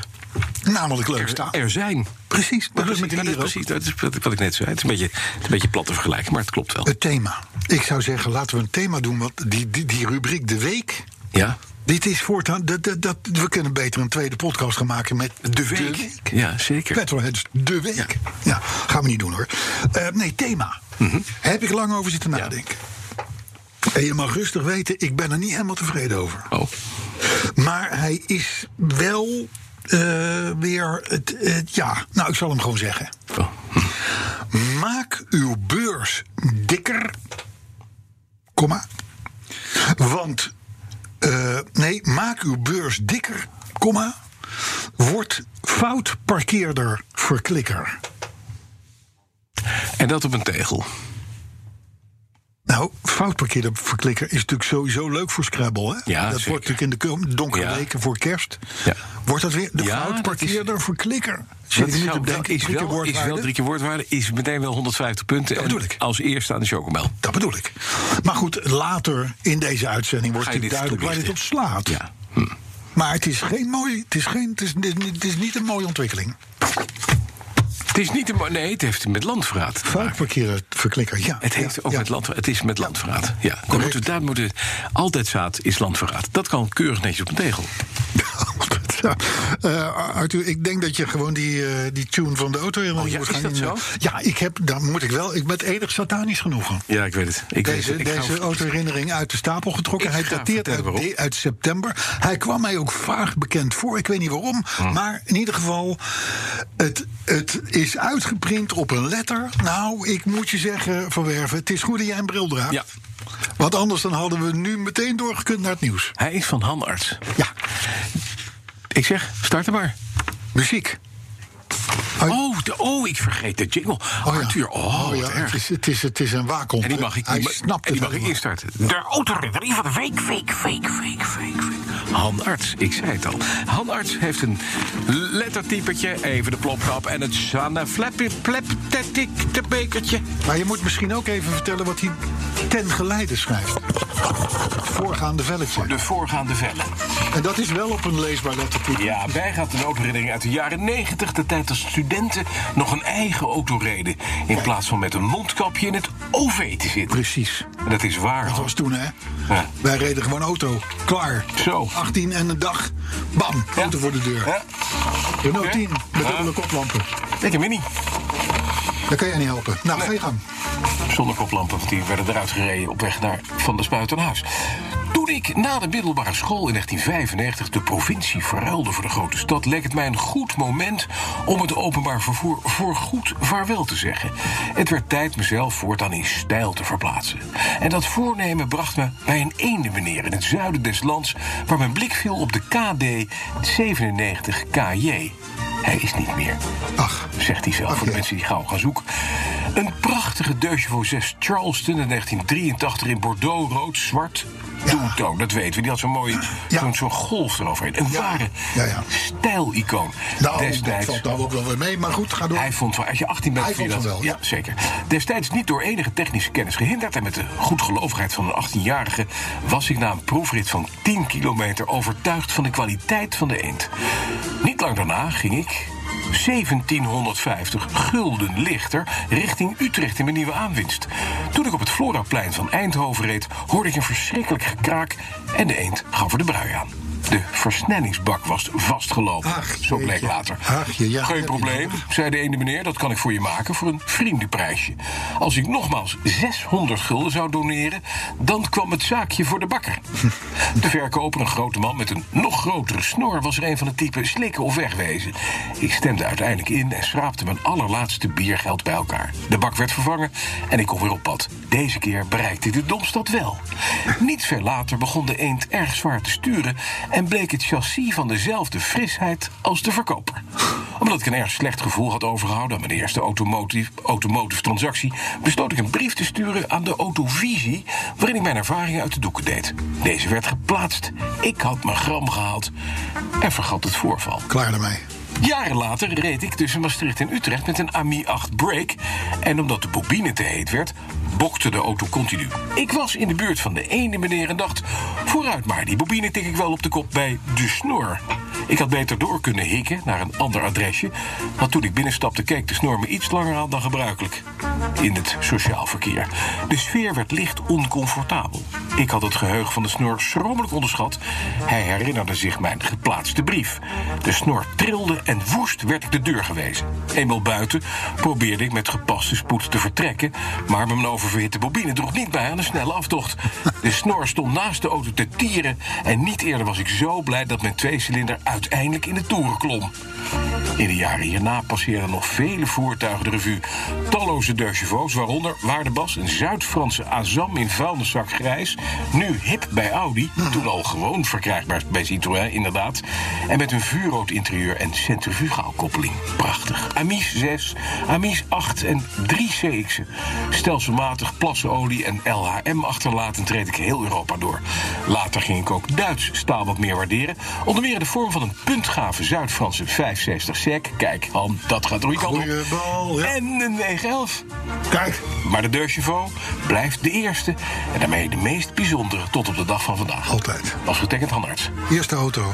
Speaker 3: Namelijk leuk
Speaker 2: Er,
Speaker 3: staan.
Speaker 2: er zijn.
Speaker 3: Precies, dat is met die
Speaker 2: dat is
Speaker 3: hier ook.
Speaker 2: precies dat is wat- wat ik net zei. Het is een beetje, het is een beetje plat te vergelijken, maar het klopt wel.
Speaker 3: Het thema. Ik zou zeggen, laten we een thema doen. Want die, die, die rubriek De Week...
Speaker 2: Ja.
Speaker 3: Dit is voortaan... Dat, dat, dat- we kunnen beter een tweede podcast gaan maken met...
Speaker 2: De week. Ja, zeker.
Speaker 3: Petrolheads, De Week. Ja. gaan we niet doen hoor. Eh, nee, thema.
Speaker 2: Mhm.
Speaker 3: Heb ik lang over zitten nadenken. En je mag rustig weten, ik ben er niet helemaal tevreden over.
Speaker 2: Oh.
Speaker 3: Maar hij is wel eh, weer het, het- Ja, nou, ik zal hem gewoon zeggen.
Speaker 2: Oh.
Speaker 3: Maak uw beurs dikker. Komma. Want. eh, nee, maak uw beurs dikker. Komma. Wordt fout parkeerder verklikker.
Speaker 2: En dat op een tegel.
Speaker 3: Nou, fout parkeerder verklikker is natuurlijk sowieso leuk voor Scrabble. Hè?
Speaker 2: Ja,
Speaker 3: dat
Speaker 2: zeker.
Speaker 3: wordt natuurlijk in de kom- donkere
Speaker 2: Ja.
Speaker 3: weken voor kerst.
Speaker 2: Ja.
Speaker 3: Wordt dat weer de
Speaker 2: Ja,
Speaker 3: fout
Speaker 2: dat
Speaker 3: parkeerder verklikker? Zit ik nu
Speaker 2: zou-
Speaker 3: te denken,
Speaker 2: is,
Speaker 3: drie keer
Speaker 2: wel, is wel
Speaker 3: woordwaarde?
Speaker 2: drie keer woordwaarde. Is meteen wel 150 punten.
Speaker 3: Dat
Speaker 2: en
Speaker 3: bedoel ik.
Speaker 2: Als eerste aan de chocomel.
Speaker 3: Dat bedoel ik. Maar goed, later in deze uitzending wordt
Speaker 2: Ga je
Speaker 3: natuurlijk
Speaker 2: dit
Speaker 3: duidelijk waar dit op
Speaker 2: toelichten?
Speaker 3: slaat.
Speaker 2: Ja. Hm.
Speaker 3: Maar het is geen mooi. Het is, geen, het, is, het is- het is niet een mooie ontwikkeling.
Speaker 2: Het is niet een. mo- Nee, het heeft met landverraad. te maken.
Speaker 3: Fout parkeerder verklikker, ja.
Speaker 2: Het heeft
Speaker 3: Ja,
Speaker 2: ook
Speaker 3: ja.
Speaker 2: met landverraad. Het is met landverraad. Ja. Daar moeten, we- daar moeten, we- altijd zaad is landverraad. Dat kan keurig netjes op een tegel.
Speaker 3: Ja. Eh, Arthur, ik denk dat je gewoon die, eh, die tune van de auto helemaal
Speaker 2: Oh ja,
Speaker 3: moet
Speaker 2: is
Speaker 3: gaan
Speaker 2: dat
Speaker 3: in-
Speaker 2: zo?
Speaker 3: Ja, ik heb, dan moet ik wel. Ik ben enig satanisch genoegen.
Speaker 2: Ja, ik weet het. Ik weet
Speaker 3: Deze,
Speaker 2: het. Ik ga-
Speaker 3: deze autoherinnering uit de stapel getrokken.
Speaker 2: Ik
Speaker 3: Hij
Speaker 2: ga
Speaker 3: dateert
Speaker 2: vertellen
Speaker 3: uit,
Speaker 2: waarom.
Speaker 3: de- uit september. Hij kwam mij ook vaag bekend voor. Ik weet niet waarom.
Speaker 2: Hm.
Speaker 3: Maar in ieder geval, het, het is uitgeprint op een letter. Nou, ik moet je zeggen, Van Werven, het is goed dat jij een bril draagt.
Speaker 2: Ja.
Speaker 3: Want anders dan hadden we nu meteen doorgekund naar het nieuws.
Speaker 2: Hij is van Hanarts.
Speaker 3: Ja,
Speaker 2: Ik zeg, start hem maar.
Speaker 3: muziek.
Speaker 2: Oh, de- oh ik vergeet de jingle.
Speaker 3: Oh ja.
Speaker 2: Arthur, oh,
Speaker 3: ja,
Speaker 2: wat
Speaker 3: het,
Speaker 2: erg.
Speaker 3: is, het, is, het is een waakhond.
Speaker 2: En die mag ik,
Speaker 3: Hij
Speaker 2: die ma-
Speaker 3: snapt
Speaker 2: en
Speaker 3: het
Speaker 2: die mag ik
Speaker 3: helemaal.
Speaker 2: instarten. De autoritterie van de week, week, week, week, week, week. Han Arts, ik zei het al. Han Arts heeft een lettertypetje, even de plopkap... en het Sanne Flappy Plaptetik te bekertje.
Speaker 3: Maar je moet misschien ook even vertellen wat hij ten geleide schrijft. Voorgaande velletje.
Speaker 2: De voorgaande vellen.
Speaker 3: En dat is wel op een leesbaar lettertype.
Speaker 2: Ja, wij gaat een autoherinnering uit de jaren 90, de tijd dat studenten nog een eigen auto reden. In plaats van met een mondkapje in het OV te zitten.
Speaker 3: Precies.
Speaker 2: En dat is waar.
Speaker 3: Dat
Speaker 2: Han.
Speaker 3: was toen, hè?
Speaker 2: Oh. Ja.
Speaker 3: Wij reden gewoon auto. Klaar.
Speaker 2: Zo.
Speaker 3: 18 en een dag. Bam. Auto
Speaker 2: Ja.
Speaker 3: voor de deur.
Speaker 2: Ja.
Speaker 3: Renault
Speaker 2: Oké.
Speaker 3: 10. Met
Speaker 2: Ja.
Speaker 3: dubbele koplampen.
Speaker 2: Ik heb hem niet.
Speaker 3: Daar kan jij niet helpen. Nou, ga je gang.
Speaker 2: Zonder koplampen, want die werden eruit gereden op weg naar Van der Spuit naar huis. Toen ik na de middelbare school in 1995 de provincie verruilde voor de grote stad, leek het mij een goed moment om het openbaar vervoer voor goed vaarwel te zeggen. Het werd tijd mezelf voortaan in stijl te verplaatsen. En dat voornemen bracht me bij een eendenmeneer in het zuiden des lands, waar mijn blik viel op de KD 97 KJ. Hij is niet meer
Speaker 3: Ach.
Speaker 2: zegt hij zelf,
Speaker 3: Ach,
Speaker 2: voor de
Speaker 3: ja.
Speaker 2: mensen die gauw gaan zoeken. Een prachtige Deux voor 6 Charleston in 1983 in Bordeaux, rood, zwart. Doeltoon, dat weten we. Die had zo'n mooie
Speaker 3: Ja.
Speaker 2: zo'n zo'n golf eroverheen. Een
Speaker 3: Ja.
Speaker 2: ware
Speaker 3: Ja, ja.
Speaker 2: stijlicoon
Speaker 3: Nou, dat
Speaker 2: destijds.
Speaker 3: valt daar ook wel weer mee. Maar goed, ga door.
Speaker 2: Hij vond van, als je 18 bent,
Speaker 3: Hij
Speaker 2: vind je
Speaker 3: vond
Speaker 2: dat
Speaker 3: van wel,
Speaker 2: Ja, zeker. Destijds niet door enige technische kennis gehinderd en met de goedgelovigheid van een 18-jarige was ik na een proefrit van 10 kilometer overtuigd van de kwaliteit van de eend. Niet lang daarna ging ik 1750 gulden lichter richting Utrecht in mijn nieuwe aanwinst. Toen ik op het Floraplein van Eindhoven reed, hoorde ik een verschrikkelijk gekraak en de eend gaf er de brui aan. de versnellingsbak was vastgelopen.
Speaker 3: Ach,
Speaker 2: zo bleek
Speaker 3: jeetje.
Speaker 2: later.
Speaker 3: Ach, je- ja,
Speaker 2: Geen
Speaker 3: heb je
Speaker 2: probleem, zei de ene meneer, dat kan ik voor je maken voor een vriendenprijsje. Als ik nogmaals 600 gulden zou doneren, dan kwam het zaakje voor de bakker. De verkoper, een grote man met een nog grotere snor, was er een van het type slikken of wegwezen. Ik stemde uiteindelijk in en schraapte mijn allerlaatste biergeld bij elkaar. De bak werd vervangen en ik kon weer op pad. Deze keer bereikte ik de domstad wel. Niet ver later begon de eend erg zwaar te sturen en bleek het chassis van dezelfde frisheid als de verkoper. Omdat ik een erg slecht gevoel had overgehouden aan mijn eerste automotive, automotive transactie, besloot ik een brief te sturen aan de Autovisie, waarin ik mijn ervaringen uit de doeken deed. Deze werd geplaatst, ik had mijn gram gehaald en vergat het voorval.
Speaker 3: Klaar daarmee.
Speaker 2: Jaren later reed ik tussen Maastricht en Utrecht met een AMI 8 Break. En omdat de bobine te heet werd, bokte de auto continu. Ik was in de buurt van de ene meneer en dacht... vooruit maar, die bobine tik ik wel op de kop bij de snor. Ik had beter door kunnen hikken naar een ander adresje... want toen ik binnenstapte keek de snor me iets langer aan dan gebruikelijk. In het sociaal verkeer. De sfeer werd licht oncomfortabel. Ik had het geheugen van de snor schromelijk onderschat. Hij herinnerde zich mijn geplaatste brief. De snor trilde en woest werd ik de deur gewezen. Eenmaal buiten probeerde ik met gepaste spoed te vertrekken... maar mijn oververhitte bobine droeg niet bij aan een snelle aftocht. De snor stond naast de auto te tieren... en niet eerder was ik zo blij dat mijn tweecilinder uiteindelijk in de toeren klom. In de jaren hierna passeerden nog vele voertuigen de revue. Talloze deux waaronder Waardebas, een Zuid-Franse Azam in vuilniszak grijs. Nu hip bij Audi, toen al gewoon verkrijgbaar bij Citroën, inderdaad. En met een vuurrood interieur en centrifugaal koppeling. Prachtig. Amis 6, Amis 8 en 3 CX'en. Stelselmatig plassenolie en LHM achterlatend reed ik heel Europa door. Later ging ik ook Duits staal wat meer waarderen. Onder meer in de vorm van een puntgave Zuid-Franse 65 sec. Kijk, Han, dat gaat door je kant op.
Speaker 3: Goeie bal, ja.
Speaker 2: En een 911.
Speaker 3: Kijk,
Speaker 2: Maar de Deuchevaux blijft de eerste. En daarmee de meest bijzondere tot op de dag van vandaag.
Speaker 3: altijd.
Speaker 2: Als getekend handarts.
Speaker 3: Eerste auto.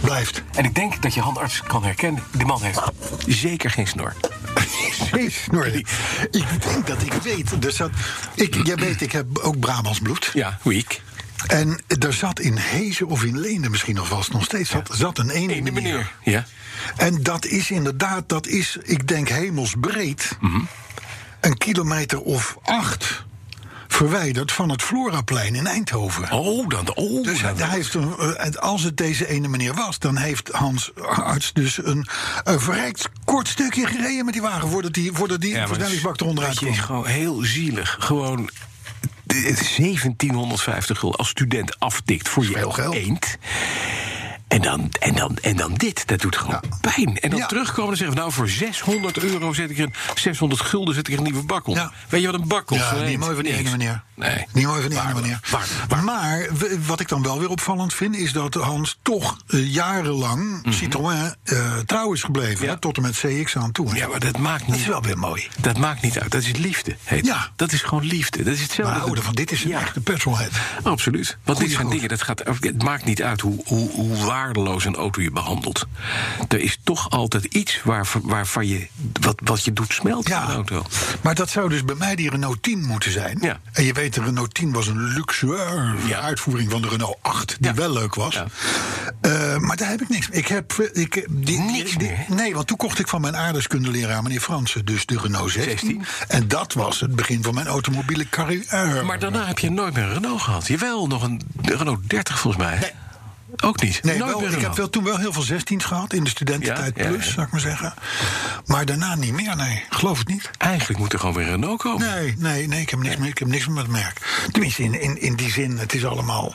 Speaker 3: Blijft.
Speaker 2: En ik denk dat je handarts kan herkennen. De man heeft zeker geen snor.
Speaker 3: Precies, Nordi. Ik denk dat ik weet. Er zat, ik, jij weet, ik heb ook Brabants bloed.
Speaker 5: Ja, week.
Speaker 3: En er zat in Hezen of in Leende misschien nog wel, nog steeds zat, zat een ene,
Speaker 5: Eén
Speaker 3: meneer.
Speaker 5: meneer. Ja.
Speaker 3: En dat is inderdaad, dat is, ik denk, hemelsbreed. Een kilometer of acht verwijderd van het Floraplein in Eindhoven.
Speaker 5: Oh, dan de. Oh,
Speaker 3: Dus
Speaker 5: dan
Speaker 3: hij
Speaker 5: de-
Speaker 3: heeft een, eh, en als het deze ene meneer was, dan heeft Hans Arts dus een, een verrijkt kort stukje gereden met die wagen voordat die, voordat die
Speaker 5: Ja, maar
Speaker 3: versnellingsbak
Speaker 5: het is-
Speaker 3: eronderuit
Speaker 5: weet je,
Speaker 3: kwam.
Speaker 5: is gewoon heel zielig. Gewoon d- 1750 gulden als student aftikt voor je
Speaker 3: veel geld.
Speaker 5: eend. En dan, en, dan, en dan dit, dat doet gewoon pijn. En dan
Speaker 3: Ja.
Speaker 5: terugkomen en zeggen... nou, voor 600 euro zet ik er een... 600 gulden zet ik er een nieuwe bak op.
Speaker 3: Ja.
Speaker 5: Weet je wat een bak kost?
Speaker 3: Ja,
Speaker 5: Een
Speaker 3: niet
Speaker 5: eend?
Speaker 3: mooi van die
Speaker 5: Niks.
Speaker 3: ene meneer.
Speaker 5: Nee.
Speaker 3: Niet mooi van die ene
Speaker 5: Waar-
Speaker 3: meneer.
Speaker 5: waar- waar-
Speaker 3: Maar w- wat ik dan wel weer opvallend vind, is dat Hans toch eh, jarenlang Citroën eh, trouw is gebleven.
Speaker 5: Mhm. Ja.
Speaker 3: hè, Tot en met CX aan toe.
Speaker 5: Ja, maar dat maakt niet...
Speaker 3: dat is wel weer mooi.
Speaker 5: Dat maakt niet uit. Dat is liefde. Heet.
Speaker 3: Ja.
Speaker 5: het. Dat is gewoon liefde. Dat is hetzelfde.
Speaker 3: Maar houden van dit is een
Speaker 5: Ja.
Speaker 3: echte petrolhead.
Speaker 5: Absoluut. Want
Speaker 3: Goeie
Speaker 5: dit zijn
Speaker 3: groep.
Speaker 5: dingen, dat gaat, het maakt niet uit hoe, hoe, hoe waardeloos een auto je behandelt. Er is toch altijd iets waar, waarvan je, wat, wat je doet smelten aan
Speaker 3: Ja,
Speaker 5: een auto.
Speaker 3: maar dat zou dus bij mij die Renault 10 moeten zijn.
Speaker 5: Ja.
Speaker 3: En je weet, de Renault 10 was een luxueuze
Speaker 5: Ja.
Speaker 3: uitvoering van de Renault 8, die
Speaker 5: Ja.
Speaker 3: wel leuk was.
Speaker 5: Ja.
Speaker 3: Eh, maar daar heb ik niks mee. Ik heb, eh, ik, heb die,
Speaker 5: Niks
Speaker 3: die-
Speaker 5: meer, hè?
Speaker 3: Nee, want toen kocht ik van mijn aardrijkskundeleraar, meneer Fransen, dus de Renault 16.
Speaker 5: 16.
Speaker 3: En dat was het begin van mijn automobiele carrière.
Speaker 5: Maar daarna heb je nooit meer een Renault gehad. Jawel, nog een Renault 30 volgens mij.
Speaker 3: Nee.
Speaker 5: Ook niet.
Speaker 3: Nee,
Speaker 5: nooit
Speaker 3: wel,
Speaker 5: meer
Speaker 3: ik heb
Speaker 5: Renault.
Speaker 3: wel, toen wel heel veel 16's gehad in de studententijd
Speaker 5: Ja, ja,
Speaker 3: plus,
Speaker 5: ja.
Speaker 3: zou ik maar zeggen. Maar daarna niet meer, nee. Geloof het niet.
Speaker 5: Eigenlijk moet er gewoon weer een Renault komen.
Speaker 3: Nee, nee, nee, ik heb niks, meer, ik heb niks meer met het merk. Tenminste, in, in, in die zin, het is allemaal...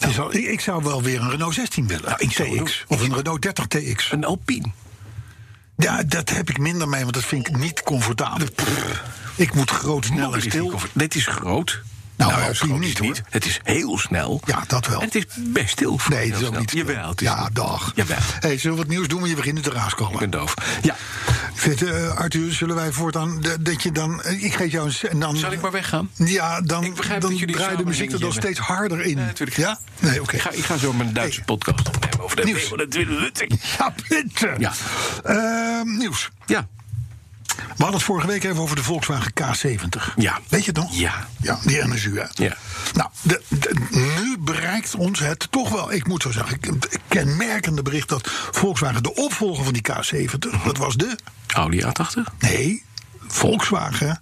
Speaker 3: Het is al, ik, ik zou wel weer een Renault 16 willen,
Speaker 5: Nou, ik zou het
Speaker 3: TX. Of een Renault 30 TX.
Speaker 5: Een Alpine.
Speaker 3: Ja, dat heb ik minder mee, want dat vind ik niet comfortabel. Ik moet groot, snel en
Speaker 5: Dit is niet
Speaker 3: stil.
Speaker 5: comfort- Dit is groot.
Speaker 3: Nou,
Speaker 5: ja,
Speaker 3: Alpine
Speaker 5: groot is
Speaker 3: niet,
Speaker 5: het
Speaker 3: hoor.
Speaker 5: Het is heel snel.
Speaker 3: Ja, dat wel.
Speaker 5: En het is best stil. voor
Speaker 3: Nee, het is
Speaker 5: heel
Speaker 3: ook
Speaker 5: snel.
Speaker 3: niet... stil.
Speaker 5: Jawel, het is
Speaker 3: Ja, dag.
Speaker 5: Jawel.
Speaker 3: Hey, zullen we wat nieuws doen? Want je begint nu te
Speaker 5: Ik
Speaker 3: raaskomen.
Speaker 5: ben doof. Ja,
Speaker 3: Vindt, eh, Arthur, zullen wij voortaan... de- Dat je dan... eh, Ik geef jou een... En dan,
Speaker 5: zal ik maar weggaan?
Speaker 3: Ja, dan,
Speaker 5: Ik begrijp
Speaker 3: dan
Speaker 5: dat jullie
Speaker 3: draai de
Speaker 5: samen
Speaker 3: muziek er
Speaker 5: dingen
Speaker 3: nog steeds harder in.
Speaker 5: Nee, natuurlijk.
Speaker 3: ja? Nee, oké.
Speaker 5: Ik, ga, ik ga zo mijn Duitse
Speaker 3: Hey.
Speaker 5: podcast opnemen over de
Speaker 3: Nieuws.
Speaker 5: Dat wil Lutting.
Speaker 3: Ja, bitte.
Speaker 5: Ja.
Speaker 3: Ehm, nieuws.
Speaker 5: Ja.
Speaker 3: We hadden het vorige week even over de Volkswagen K70.
Speaker 5: Ja.
Speaker 3: Weet je het nog?
Speaker 5: Ja.
Speaker 3: ja die MSU, hè?
Speaker 5: Ja.
Speaker 3: Nou, de, de- nu bereikt ons het toch wel. Ik moet zo zeggen, ik- kenmerkende bericht dat Volkswagen de opvolger van die K70,
Speaker 2: Mhm.
Speaker 3: dat was de.
Speaker 2: Audi A80?
Speaker 3: Nee, Volkswagen.